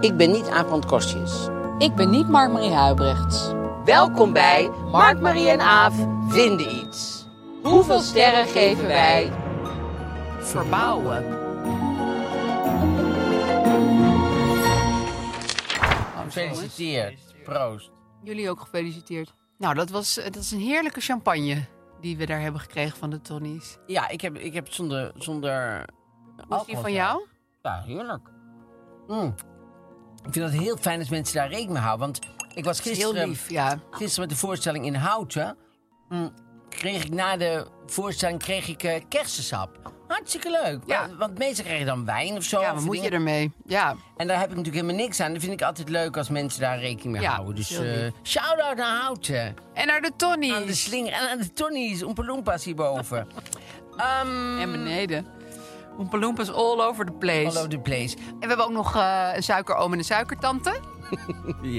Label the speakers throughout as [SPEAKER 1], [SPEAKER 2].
[SPEAKER 1] Ik ben niet Aap van Kostjes.
[SPEAKER 2] Ik ben niet Mark-Marie Huibrechts.
[SPEAKER 1] Welkom bij Mark, Marie en Aaf vinden iets. Hoeveel sterren geven wij? Verbouwen.
[SPEAKER 3] Oh, Gefeliciteerd. Proost.
[SPEAKER 4] Jullie ook gefeliciteerd. Nou, dat was, eh, dat is een heerlijke champagne die we daar hebben gekregen van de Tonnies.
[SPEAKER 3] Ja, ik heb, ik heb zonder... zonder
[SPEAKER 4] Was die
[SPEAKER 3] alcohol
[SPEAKER 4] van
[SPEAKER 3] zelf.
[SPEAKER 4] jou?
[SPEAKER 3] Ja, heerlijk. Mm. Ik vind het heel fijn dat mensen daar rekening mee houden. Want ik was
[SPEAKER 4] is heel
[SPEAKER 3] gisteren,
[SPEAKER 4] lief, ja.
[SPEAKER 3] gisteren met de voorstelling in Houten... mm, kreeg ik na de voorstelling kreeg ik, eh, kersensap. Hartstikke leuk.
[SPEAKER 4] Ja.
[SPEAKER 3] Maar- Want meestal krijgen dan wijn of zo.
[SPEAKER 4] Ja,
[SPEAKER 3] of
[SPEAKER 4] wat moet je
[SPEAKER 3] dingen.
[SPEAKER 4] ermee? Ja,
[SPEAKER 3] En daar heb ik natuurlijk helemaal niks aan. Dat vind ik altijd leuk als mensen daar rekening mee
[SPEAKER 4] Ja,
[SPEAKER 3] houden. Dus
[SPEAKER 4] heel lief.
[SPEAKER 3] eh, shout-out naar Houten.
[SPEAKER 4] en naar de
[SPEAKER 3] Aan de
[SPEAKER 4] Tonnies.
[SPEAKER 3] slinger en aan de tonnies. Oompa Loompas hierboven. Ehm
[SPEAKER 4] En beneden. Oompa Loompas all over the place.
[SPEAKER 3] all over the place.
[SPEAKER 4] En we hebben ook nog eh, een suikeroom en een suikertante.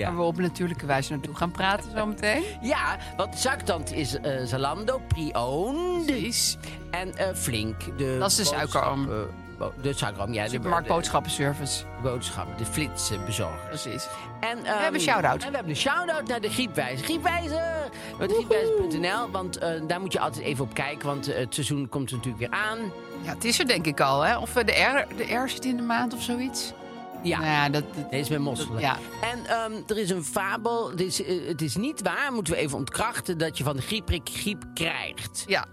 [SPEAKER 4] Waar we op natuurlijke wijze naartoe gaan praten zometeen.
[SPEAKER 3] Ja, want zaktand is eh, Zalando, pre-owned. En eh, Flink. De
[SPEAKER 4] Dat is de
[SPEAKER 3] boodschap-
[SPEAKER 4] suikeroom.
[SPEAKER 3] eh, bo- de suikeroom, ja. De,
[SPEAKER 4] Supermarkt
[SPEAKER 3] de,
[SPEAKER 4] boodschappenservice.
[SPEAKER 3] de boodschappen, de flitsbezorgers.
[SPEAKER 4] Precies.
[SPEAKER 3] En, ehm,
[SPEAKER 4] hebben een shout-out.
[SPEAKER 3] En we hebben een shout-out naar de Griepwijzer. Griepwijzer! Met griepwijzer.nl, want eh, daar moet je altijd even op kijken. Want eh, het seizoen komt er natuurlijk weer aan.
[SPEAKER 4] Ja, het is er denk ik al, hè? Of eh, de R, de R zit in de maand of zoiets.
[SPEAKER 3] Ja.
[SPEAKER 4] Nou ja, dat, dat-
[SPEAKER 3] Deze met mosselen.
[SPEAKER 4] Ja.
[SPEAKER 3] En ehm, er is een fabel. Het is, eh, het is niet waar, moeten we even ontkrachten, dat je van de griepprik griep krijgt.
[SPEAKER 4] ja.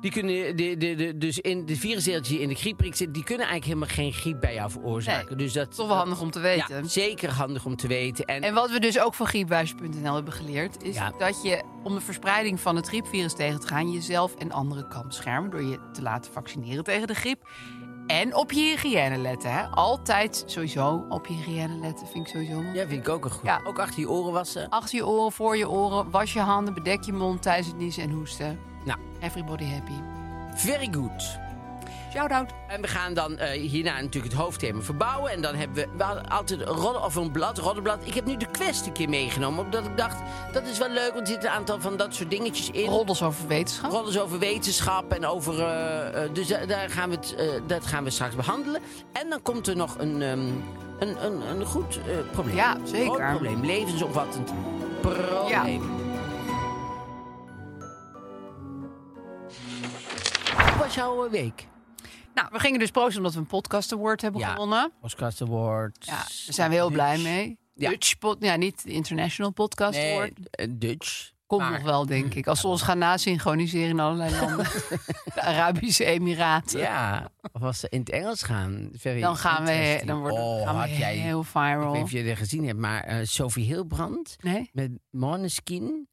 [SPEAKER 3] Die kunnen, de, de, de, dus in de virusdeeltjes die in de griepprik zitten, die kunnen eigenlijk helemaal geen griep bij jou veroorzaken.
[SPEAKER 4] Nee,
[SPEAKER 3] dus dat
[SPEAKER 4] is toch wel handig om te weten.
[SPEAKER 3] Ja, zeker handig om te weten. En,
[SPEAKER 4] En wat we dus ook van griepwijs.nl hebben geleerd... is
[SPEAKER 3] Ja.
[SPEAKER 4] dat je om de verspreiding van het griepvirus tegen te gaan... jezelf en anderen kan beschermen door je te laten vaccineren tegen de griep. En op je hygiëne letten. Hè? Altijd sowieso op je hygiëne letten, vind ik sowieso. wel-
[SPEAKER 3] ja, vind ik ook een goed.
[SPEAKER 4] Ja.
[SPEAKER 3] Ook achter je oren wassen.
[SPEAKER 4] Achter je oren, voor je oren, was je handen, bedek je mond tijdens het niezen en hoesten.
[SPEAKER 3] Nou,
[SPEAKER 4] Everybody happy.
[SPEAKER 3] very good.
[SPEAKER 4] Shout-out.
[SPEAKER 3] En we gaan dan eh, hierna natuurlijk het hoofdthema verbouwen. En dan hebben we, we hadden altijd rodden of een blad, roddenblad. Ik heb nu de quest een keer meegenomen, omdat ik dacht, dat is wel leuk, want er zitten een aantal van dat soort dingetjes in.
[SPEAKER 4] Roddels over wetenschap.
[SPEAKER 3] Roddels dus over wetenschap en over. eh, eh, dus da- daar gaan we het, eh, dat gaan we straks behandelen. En dan komt er nog een, ehm, een, een, een goed eh, probleem.
[SPEAKER 4] Ja,
[SPEAKER 3] Een
[SPEAKER 4] zeker.
[SPEAKER 3] groot probleem, levensopvattend probleem. Hoe was jouw eh, week?
[SPEAKER 4] nou, we gingen dus proosten omdat we een podcast award hebben
[SPEAKER 3] Ja.
[SPEAKER 4] gewonnen.
[SPEAKER 3] Oscars Award.
[SPEAKER 4] Ja, daar zijn we heel blij mee.
[SPEAKER 3] Ja.
[SPEAKER 4] Dutch pod, ja, niet de International Podcast
[SPEAKER 3] Nee,
[SPEAKER 4] Award.
[SPEAKER 3] eh, Dutch.
[SPEAKER 4] Komt
[SPEAKER 3] Maar-
[SPEAKER 4] nog wel, denk ik. Als ze ons gaan nasynchroniseren in allerlei landen. de Arabische Emiraten.
[SPEAKER 3] Ja, of als ze in het Engels gaan. Very
[SPEAKER 4] Dan gaan we,
[SPEAKER 3] interesting.
[SPEAKER 4] dan worden,
[SPEAKER 3] oh,
[SPEAKER 4] gaan we
[SPEAKER 3] had jij,
[SPEAKER 4] heel
[SPEAKER 3] Ik
[SPEAKER 4] viral.
[SPEAKER 3] weet niet of je er gezien hebt, maar eh, Sophie Hilbrand.
[SPEAKER 4] Nee?
[SPEAKER 3] Met Måneskin.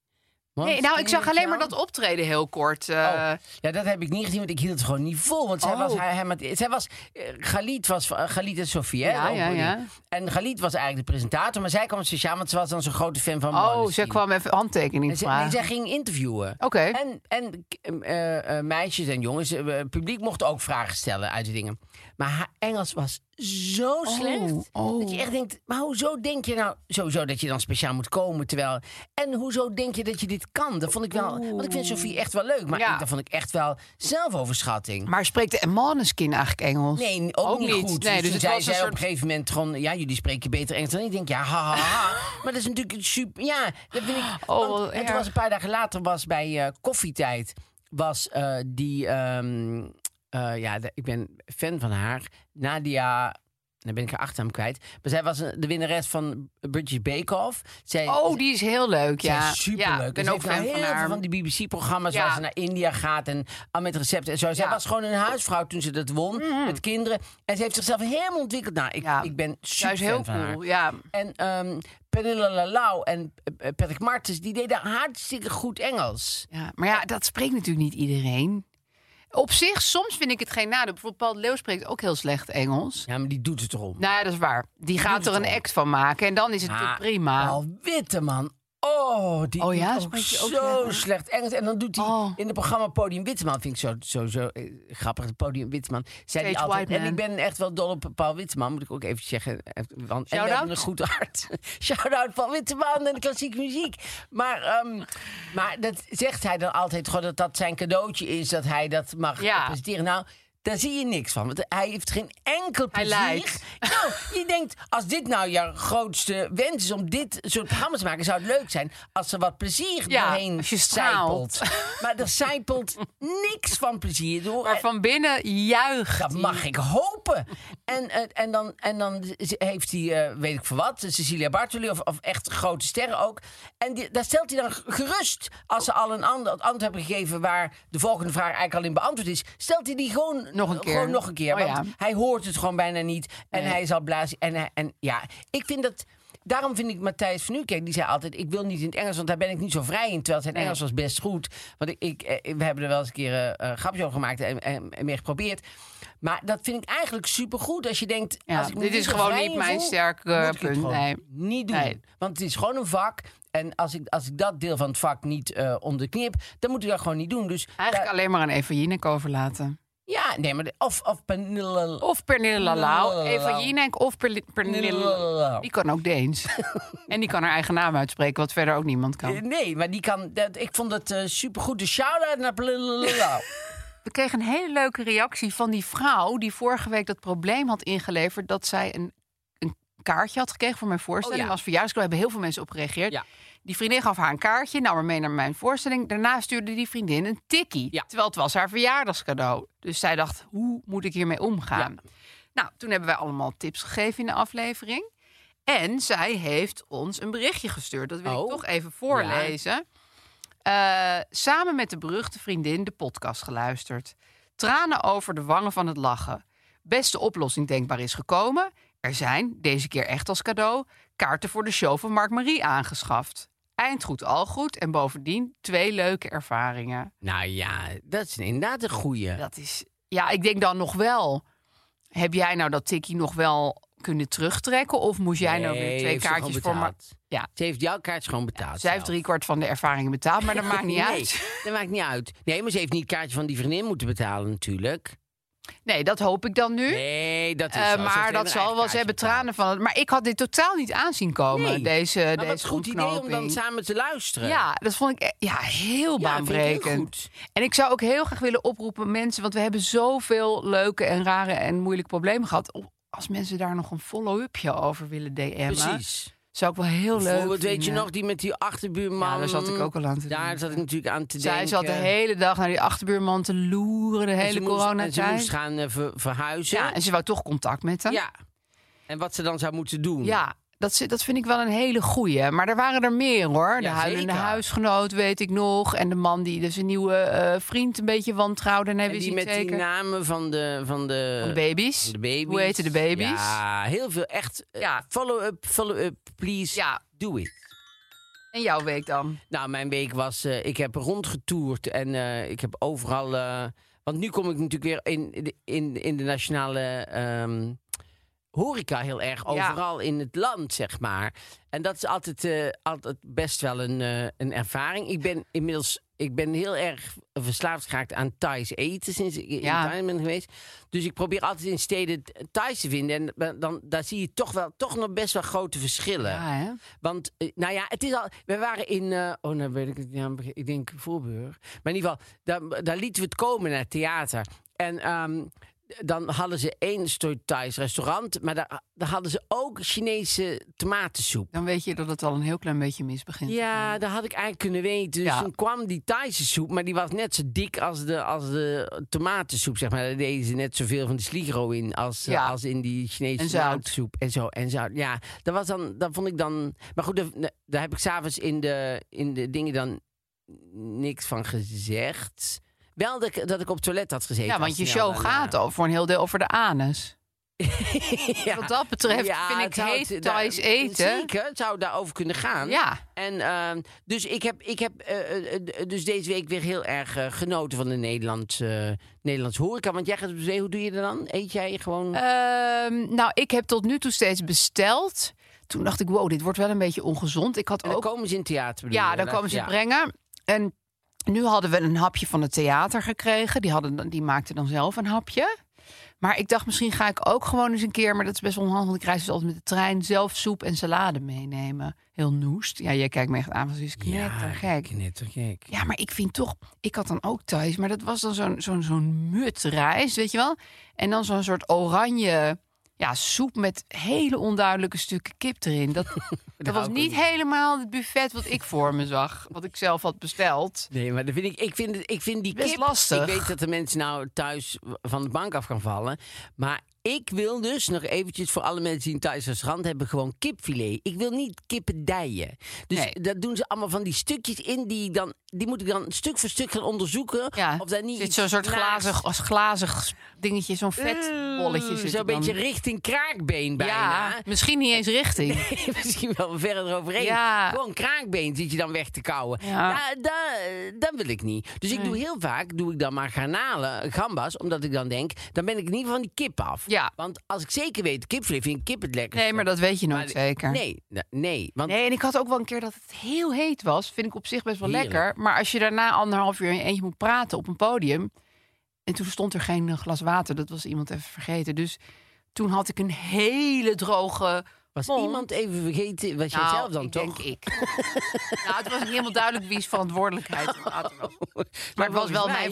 [SPEAKER 4] nee, nou, ik zag alleen maar dat optreden heel kort. eh,
[SPEAKER 3] Oh. Ja, dat heb ik niet gezien, want ik hield het gewoon niet vol. Want zij
[SPEAKER 4] Oh.
[SPEAKER 3] was... Hij, hij, met- zij was eh, Galit was... eh, Galit en Sofie, hè?
[SPEAKER 4] Ja,
[SPEAKER 3] de
[SPEAKER 4] ja,
[SPEAKER 3] opening.
[SPEAKER 4] ja.
[SPEAKER 3] En Galit was eigenlijk de presentator, maar zij kwam speciaal... want ze was dan zo'n grote fan van
[SPEAKER 4] oh,
[SPEAKER 3] Måneskin.
[SPEAKER 4] ze kwam even handtekening
[SPEAKER 3] En ze, nee,
[SPEAKER 4] vragen.
[SPEAKER 3] zij ging interviewen.
[SPEAKER 4] Oké.
[SPEAKER 3] En, en eh, eh, meisjes en jongens, eh, het publiek mocht ook vragen stellen uit die dingen. Maar haar Engels was zo slecht.
[SPEAKER 4] oh.
[SPEAKER 3] Dat je echt denkt, maar hoezo denk je nou sowieso dat je dan speciaal moet komen? Terwijl, en hoezo denk je dat je dit kan? Dat vond ik wel, want ik vind Sophie echt wel leuk. Maar
[SPEAKER 4] Ja.
[SPEAKER 3] ik, dat vond ik echt wel zelfoverschatting.
[SPEAKER 4] Maar spreekt de Maneskin eigenlijk Engels?
[SPEAKER 3] Nee, ook, niet goed. dus
[SPEAKER 4] Nee, dus
[SPEAKER 3] toen
[SPEAKER 4] het
[SPEAKER 3] zei
[SPEAKER 4] was een
[SPEAKER 3] zij op een
[SPEAKER 4] soort...
[SPEAKER 3] gegeven moment gewoon... Ja, jullie spreken beter Engels dan ik. Ik denk, ja, ha, ha, ha. maar dat is natuurlijk super... Ja, dat vind ik...
[SPEAKER 4] Oh,
[SPEAKER 3] want-
[SPEAKER 4] wat
[SPEAKER 3] en toen
[SPEAKER 4] erg.
[SPEAKER 3] was een paar dagen later was bij eh, Koffietijd... was eh, die... ehm, eh, ja, de- ik ben fan van haar. Nadia, dan ben ik haar achternaam kwijt. Maar zij was een- de winnares van British Bake Off. Zij,
[SPEAKER 4] Oh, die is heel leuk,
[SPEAKER 3] ja,
[SPEAKER 4] ja.
[SPEAKER 3] superleuk.
[SPEAKER 4] Ja,
[SPEAKER 3] En
[SPEAKER 4] ik ben
[SPEAKER 3] ze
[SPEAKER 4] ook
[SPEAKER 3] heeft nou
[SPEAKER 4] fan van
[SPEAKER 3] heel
[SPEAKER 4] haar.
[SPEAKER 3] veel van die BBC-programma's
[SPEAKER 4] Ja.
[SPEAKER 3] waar ze naar India gaat en al met recepten en zo. Zij
[SPEAKER 4] Ja. Mhm.
[SPEAKER 3] was gewoon een huisvrouw toen ze dat won met kinderen. En ze heeft zichzelf helemaal ontwikkeld. Nou, ik,
[SPEAKER 4] Ja.
[SPEAKER 3] ik ben
[SPEAKER 4] Zij
[SPEAKER 3] super
[SPEAKER 4] is heel
[SPEAKER 3] van haar.
[SPEAKER 4] cool, ja.
[SPEAKER 3] En ehm Pernilla Lalau en eh, eh, Patrick Martens, die deden hartstikke goed Engels.
[SPEAKER 4] Ja, maar ja, dat spreekt natuurlijk niet iedereen. Op zich, soms vind ik het geen nadeel. Bijvoorbeeld Paul Leeuw spreekt ook heel slecht Engels.
[SPEAKER 3] Ja, maar die doet het erom.
[SPEAKER 4] Nou ja, dat is waar. Die gaat er
[SPEAKER 3] het
[SPEAKER 4] een
[SPEAKER 3] wel.
[SPEAKER 4] act van maken en dan is het
[SPEAKER 3] Ah,
[SPEAKER 4] natuurlijk prima.
[SPEAKER 3] Paul Witteman. Oh, die
[SPEAKER 4] Oh
[SPEAKER 3] doet
[SPEAKER 4] ja,
[SPEAKER 3] ook
[SPEAKER 4] spreekt hij ook
[SPEAKER 3] zo
[SPEAKER 4] slecht, hè?
[SPEAKER 3] slecht Engels. En dan doet hij
[SPEAKER 4] Oh.
[SPEAKER 3] in het programma Podium Witteman. Vind ik zo, zo, zo eh, grappig. Het Podium Witteman. Zei die
[SPEAKER 4] Stage
[SPEAKER 3] altijd,
[SPEAKER 4] white
[SPEAKER 3] en ik
[SPEAKER 4] man.
[SPEAKER 3] ben echt wel dol op Paul Witteman. Moet ik ook even zeggen. eh, Want, en we
[SPEAKER 4] Shout-out?
[SPEAKER 3] hebben een goed hart. Shout-out Paul Witteman en de klassieke muziek. Maar, ehm, maar dat zegt hij dan altijd. Gewoon dat dat zijn cadeautje is. Dat hij dat mag
[SPEAKER 4] Ja.
[SPEAKER 3] presenteren. Nou... Daar zie je niks van, want hij heeft geen enkel
[SPEAKER 4] Hij
[SPEAKER 3] plezier.
[SPEAKER 4] lijkt.
[SPEAKER 3] Nou, je denkt, als dit nou jouw grootste wens is om dit soort programma's te maken, zou het leuk zijn als er wat plezier
[SPEAKER 4] Ja,
[SPEAKER 3] doorheen
[SPEAKER 4] als je
[SPEAKER 3] zijpelt.
[SPEAKER 4] straalt.
[SPEAKER 3] Maar er zijpelt niks van plezier door.
[SPEAKER 4] Maar van binnen juicht
[SPEAKER 3] Dat
[SPEAKER 4] hij.
[SPEAKER 3] mag ik hopen. En, eh, en, dan, en dan z- heeft hij, eh, weet ik voor wat, Cecilia Bartoli of, of echt grote sterren ook. En die, daar stelt hij dan g- gerust, als ze al een ander, het antwoord hebben gegeven waar de volgende vraag eigenlijk al in beantwoord is, stelt hij die gewoon
[SPEAKER 4] Nog een keer.
[SPEAKER 3] Gewoon nog een keer
[SPEAKER 4] Oh
[SPEAKER 3] want
[SPEAKER 4] ja.
[SPEAKER 3] hij hoort het gewoon bijna niet. En hij is al blaas. En, hij- en ja, ik vind dat. Daarom vind ik Matthijs van Nieuwkerk, die zei altijd... ik wil niet in het Engels, want daar ben ik niet zo vrij in. Terwijl zijn Engels was best goed. Want ik, ik, eh, we hebben er wel eens een keer eh, eh, grapjes over gemaakt en, en, en meer geprobeerd. Maar dat vind ik eigenlijk supergoed als je denkt...
[SPEAKER 4] Ja,
[SPEAKER 3] als ik me
[SPEAKER 4] dit
[SPEAKER 3] niet
[SPEAKER 4] is
[SPEAKER 3] zo
[SPEAKER 4] gewoon
[SPEAKER 3] vrij
[SPEAKER 4] niet
[SPEAKER 3] in
[SPEAKER 4] mijn
[SPEAKER 3] voel,
[SPEAKER 4] sterke
[SPEAKER 3] moet ik het
[SPEAKER 4] punt,
[SPEAKER 3] gewoon
[SPEAKER 4] nee.
[SPEAKER 3] Niet doen.
[SPEAKER 4] Nee.
[SPEAKER 3] Want het is gewoon een vak. En als ik, als ik dat deel van het vak niet eh om de knip... dan moet ik dat gewoon niet doen. Dus
[SPEAKER 4] Eigenlijk alleen maar aan Eva Jinek overlaten.
[SPEAKER 3] ja, nee, maar... de- Of, of Pernille...
[SPEAKER 4] Of Pernille Lau,
[SPEAKER 3] Pernille
[SPEAKER 4] Eva
[SPEAKER 3] Lau.
[SPEAKER 4] Jinek of Perli- Pernille...
[SPEAKER 3] Pernille.
[SPEAKER 4] Die kan ook Deens. en die kan haar eigen naam uitspreken, wat verder ook niemand kan.
[SPEAKER 3] Nee, maar die kan. Dat, ik vond het eh, supergoed. De shout-out naar Blululula.
[SPEAKER 4] We kregen een hele leuke reactie van die vrouw... die vorige week dat probleem had ingeleverd... dat zij een, een kaartje had gekregen voor mijn voorstelling.
[SPEAKER 3] Oh ja.
[SPEAKER 4] Als verjaarsdag hebben heel veel mensen op gereageerd.
[SPEAKER 3] Ja.
[SPEAKER 4] Die vriendin gaf haar een kaartje, nam haar mee naar mijn voorstelling. Daarna stuurde die vriendin een tikkie.
[SPEAKER 3] Ja.
[SPEAKER 4] Terwijl het was haar verjaardagscadeau. Dus zij dacht, hoe moet ik hiermee omgaan? Nou, toen hebben wij allemaal tips gegeven in de aflevering. En zij heeft ons een berichtje gestuurd. Dat wil
[SPEAKER 3] Oh.
[SPEAKER 4] ik toch even voorlezen. Eh, samen met de beruchte vriendin de podcast geluisterd. Tranen over de wangen van het lachen. Beste oplossing denkbaar is gekomen. Er zijn, deze keer echt als cadeau, kaarten voor de show van Mark Marie aangeschaft. Eind goed, al goed en bovendien twee leuke ervaringen.
[SPEAKER 3] nou ja, dat is inderdaad een goeie.
[SPEAKER 4] Dat is, ja, ik denk dan nog wel. Heb jij nou dat tikkie nog wel kunnen terugtrekken? Of moest jij nou weer
[SPEAKER 3] Nee,
[SPEAKER 4] twee
[SPEAKER 3] heeft ze
[SPEAKER 4] kaartjes
[SPEAKER 3] gewoon
[SPEAKER 4] voor Mark?
[SPEAKER 3] betaald.
[SPEAKER 4] Ja,
[SPEAKER 3] Ze heeft jouw kaartjes gewoon betaald.
[SPEAKER 4] zij heeft
[SPEAKER 3] zelf.
[SPEAKER 4] driekwart van de ervaringen betaald, maar dat maakt niet
[SPEAKER 3] Nee,
[SPEAKER 4] uit.
[SPEAKER 3] Dat maakt niet uit. Nee, maar ze heeft niet het kaartje van die vriendin moeten betalen, natuurlijk.
[SPEAKER 4] Nee, dat hoop ik dan nu.
[SPEAKER 3] Nee, dat is
[SPEAKER 4] Eh,
[SPEAKER 3] zo. Ze heeft
[SPEAKER 4] maar
[SPEAKER 3] alleen
[SPEAKER 4] dat
[SPEAKER 3] haar
[SPEAKER 4] zal
[SPEAKER 3] eigen
[SPEAKER 4] wel. Ze
[SPEAKER 3] kaartje
[SPEAKER 4] hebben
[SPEAKER 3] betaald.
[SPEAKER 4] tranen van het. Maar ik had dit totaal niet aanzien komen.
[SPEAKER 3] Nee.
[SPEAKER 4] Deze,
[SPEAKER 3] Maar
[SPEAKER 4] deze
[SPEAKER 3] wat een goed idee om dan
[SPEAKER 4] ontknoping.
[SPEAKER 3] samen te luisteren.
[SPEAKER 4] Ja, dat vond ik e- ja, heel
[SPEAKER 3] Ja, vind ik heel
[SPEAKER 4] baanbrekend.
[SPEAKER 3] goed.
[SPEAKER 4] En ik zou ook heel graag willen oproepen, mensen, want we hebben zoveel leuke en rare en moeilijke problemen gehad. Om- Als mensen daar nog een follow-upje over willen DM'en,
[SPEAKER 3] precies.
[SPEAKER 4] zou ik wel heel leuk
[SPEAKER 3] Bijvoorbeeld, weet je
[SPEAKER 4] vinden.
[SPEAKER 3] nog, die met die achterbuurman.
[SPEAKER 4] Ja, daar zat ik ook al aan te
[SPEAKER 3] Daar
[SPEAKER 4] denken.
[SPEAKER 3] zat ik natuurlijk aan te
[SPEAKER 4] Zij
[SPEAKER 3] denken.
[SPEAKER 4] zat de hele dag naar die achterbuurman te loeren, de
[SPEAKER 3] En
[SPEAKER 4] hele
[SPEAKER 3] ze moest-
[SPEAKER 4] coronatijd.
[SPEAKER 3] En ze moest gaan eh, ver- verhuizen.
[SPEAKER 4] ja, en ze wou toch contact met hem.
[SPEAKER 3] Ja. En wat ze dan zou moeten doen.
[SPEAKER 4] Ja, dat, zi- dat vind ik wel een hele goeie. Maar er waren er meer hoor. De
[SPEAKER 3] Ja,
[SPEAKER 4] huilende
[SPEAKER 3] zeker.
[SPEAKER 4] huisgenoot weet ik nog. En de man die dus een nieuwe eh, vriend een beetje wantrouwde. En hij
[SPEAKER 3] En
[SPEAKER 4] wist
[SPEAKER 3] die
[SPEAKER 4] niet
[SPEAKER 3] met die
[SPEAKER 4] zeker.
[SPEAKER 3] namen van de, van de,
[SPEAKER 4] Van baby's.
[SPEAKER 3] van de baby's.
[SPEAKER 4] Hoe heten de baby's?
[SPEAKER 3] Ja, heel veel. Echt. eh,
[SPEAKER 4] Ja.
[SPEAKER 3] Follow-up, follow-up, please.
[SPEAKER 4] Ja.
[SPEAKER 3] Do it.
[SPEAKER 4] En jouw week dan?
[SPEAKER 3] Nou, mijn week was... eh, ik heb rondgetoerd en eh, ik heb overal... eh, want nu kom ik natuurlijk weer in, de- in, in de nationale ehm, horeca heel erg.
[SPEAKER 4] Ja.
[SPEAKER 3] Overal in het land, zeg maar. En dat is altijd, eh, altijd best wel een, eh, een ervaring. Ik ben inmiddels... Ik ben heel erg verslaafd geraakt aan Thais eten sinds ik in
[SPEAKER 4] Ja.
[SPEAKER 3] Thailand ben geweest. Dus ik probeer altijd in steden Thais te vinden. En dan, daar zie je toch, wel, toch nog best wel grote verschillen.
[SPEAKER 4] Ja, hè?
[SPEAKER 3] Want, eh, nou ja, het is al. We waren in. eh, oh, nou weet ik het niet. aan het begin. Ik denk Voorburg. Maar in ieder geval, daar, daar lieten we het komen naar het theater. En ehm, dan hadden ze één soort Thais restaurant, maar daar, daar hadden ze ook Chinese tomatensoep.
[SPEAKER 4] Dan weet je dat het al een heel klein beetje mis begint.
[SPEAKER 3] Ja, dat had ik eigenlijk kunnen weten. Dus
[SPEAKER 4] Mm. Ja.
[SPEAKER 3] toen kwam die Thaise soep, maar die was net zo dik als de, als de tomatensoep, zeg maar. Daar deden ze net zoveel van de sligro in als, eh,
[SPEAKER 4] Ja.
[SPEAKER 3] als in die Chinese
[SPEAKER 4] En zout.
[SPEAKER 3] tomatensoep. En zo, en zout. Ja, dat was dan, dat vond ik dan... Maar goed, daar- daar heb ik s'avonds in de, in de dingen dan niks van gezegd. Wel dat ik, dat ik op het toilet had gezeten.
[SPEAKER 4] Ja,
[SPEAKER 3] al
[SPEAKER 4] want je
[SPEAKER 3] snel
[SPEAKER 4] show
[SPEAKER 3] daarna.
[SPEAKER 4] gaat al voor een heel deel over de anus.
[SPEAKER 3] Ja.
[SPEAKER 4] Wat dat betreft vind ik
[SPEAKER 3] het zou
[SPEAKER 4] heet
[SPEAKER 3] het-
[SPEAKER 4] Thais
[SPEAKER 3] daar-
[SPEAKER 4] eten.
[SPEAKER 3] Zeker, het zou daarover kunnen gaan.
[SPEAKER 4] Ja.
[SPEAKER 3] En, ehm, dus ik heb, ik heb eh, eh, eh, dus deze week weer heel erg eh, genoten van de Nederlandse, eh, Nederlandse horeca. Want jij gaat op zee, hoe doe je dat dan? Eet jij gewoon...
[SPEAKER 4] Ehm, nou, ik heb tot nu toe steeds besteld. Toen dacht ik, wow, dit wordt wel een beetje ongezond. Ik had
[SPEAKER 3] en dan
[SPEAKER 4] ook
[SPEAKER 3] komen ze in het theater. bedoel
[SPEAKER 4] Ja,
[SPEAKER 3] je?
[SPEAKER 4] dan
[SPEAKER 3] Dat-
[SPEAKER 4] komen ze
[SPEAKER 3] ja.
[SPEAKER 4] het brengen. En nu hadden we een hapje van het theater gekregen. Die, hadden, dan- die maakten dan zelf een hapje. Maar ik dacht, misschien ga ik ook gewoon eens een keer... maar dat is best onhandig, want ik reis dus altijd met de trein... zelf soep en salade meenemen. Heel noest. Ja, jij kijkt me echt aan, want ze is knettergek.
[SPEAKER 3] Ja, knettergek.
[SPEAKER 4] Ja, maar ik vind toch, ik had dan ook thuis, maar dat was dan zo'n zo'n zo'n mutrijs, weet je wel? En dan zo'n soort oranje ja, soep met hele onduidelijke stukken kip erin. Dat, dat was
[SPEAKER 3] ik
[SPEAKER 4] niet helemaal het buffet wat ik voor me zag, wat ik zelf had besteld.
[SPEAKER 3] Nee, maar dat vind ik, ik, vind, het- ik vind die
[SPEAKER 4] Best
[SPEAKER 3] kip...
[SPEAKER 4] lastig.
[SPEAKER 3] Ik weet dat de mensen nou thuis van de bank af gaan vallen. Maar ik wil dus nog eventjes voor alle mensen die een thuis restaurant hebben... gewoon kipfilet. Ik wil niet kippendijen. Dus
[SPEAKER 4] Nee.
[SPEAKER 3] dat doen ze allemaal van die stukjes in. Die, ik dan, die moet ik dan stuk voor stuk gaan onderzoeken.
[SPEAKER 4] Ja,
[SPEAKER 3] of daar niet
[SPEAKER 4] zit
[SPEAKER 3] iets
[SPEAKER 4] zo'n soort
[SPEAKER 3] naast-
[SPEAKER 4] glazig, als glazig dingetje, zo'n vetbolletje.
[SPEAKER 3] Oeh,
[SPEAKER 4] zit
[SPEAKER 3] Zo'n
[SPEAKER 4] er dan.
[SPEAKER 3] beetje richting kraakbeen bijna.
[SPEAKER 4] Ja, misschien niet eens richting.
[SPEAKER 3] Misschien wel verder eroverheen.
[SPEAKER 4] Ja.
[SPEAKER 3] Gewoon kraakbeen zit je dan weg te kauwen.
[SPEAKER 4] Ja.
[SPEAKER 3] Ja, da- dat wil ik niet. Dus ik doe heel vaak, doe ik dan maar garnalen, gambas. Omdat ik dan denk, dan ben ik in ieder geval van die kip af.
[SPEAKER 4] Ja.
[SPEAKER 3] Want als ik zeker weet, kipfilet vind ik kip het lekkerste.
[SPEAKER 4] Nee, maar dat weet je nooit zeker.
[SPEAKER 3] Nee, da- nee. Want
[SPEAKER 4] Nee, en ik had ook wel een keer dat het heel heet was. Vind ik op zich best wel
[SPEAKER 3] Heerlijk.
[SPEAKER 4] lekker. Maar als je daarna anderhalf uur in je eentje moet praten op een podium. En toen stond er geen eh, glas water. Dat was iemand even vergeten. Dus toen had ik een hele droge.
[SPEAKER 3] was
[SPEAKER 4] mond.
[SPEAKER 3] iemand even vergeten, was jij
[SPEAKER 4] Nou,
[SPEAKER 3] zelf dan
[SPEAKER 4] ik
[SPEAKER 3] toch?
[SPEAKER 4] Denk ik. nou, het was niet helemaal duidelijk wie's verantwoordelijkheid het water was. Maar, het was
[SPEAKER 3] volgens
[SPEAKER 4] wel
[SPEAKER 3] mij-
[SPEAKER 4] mijn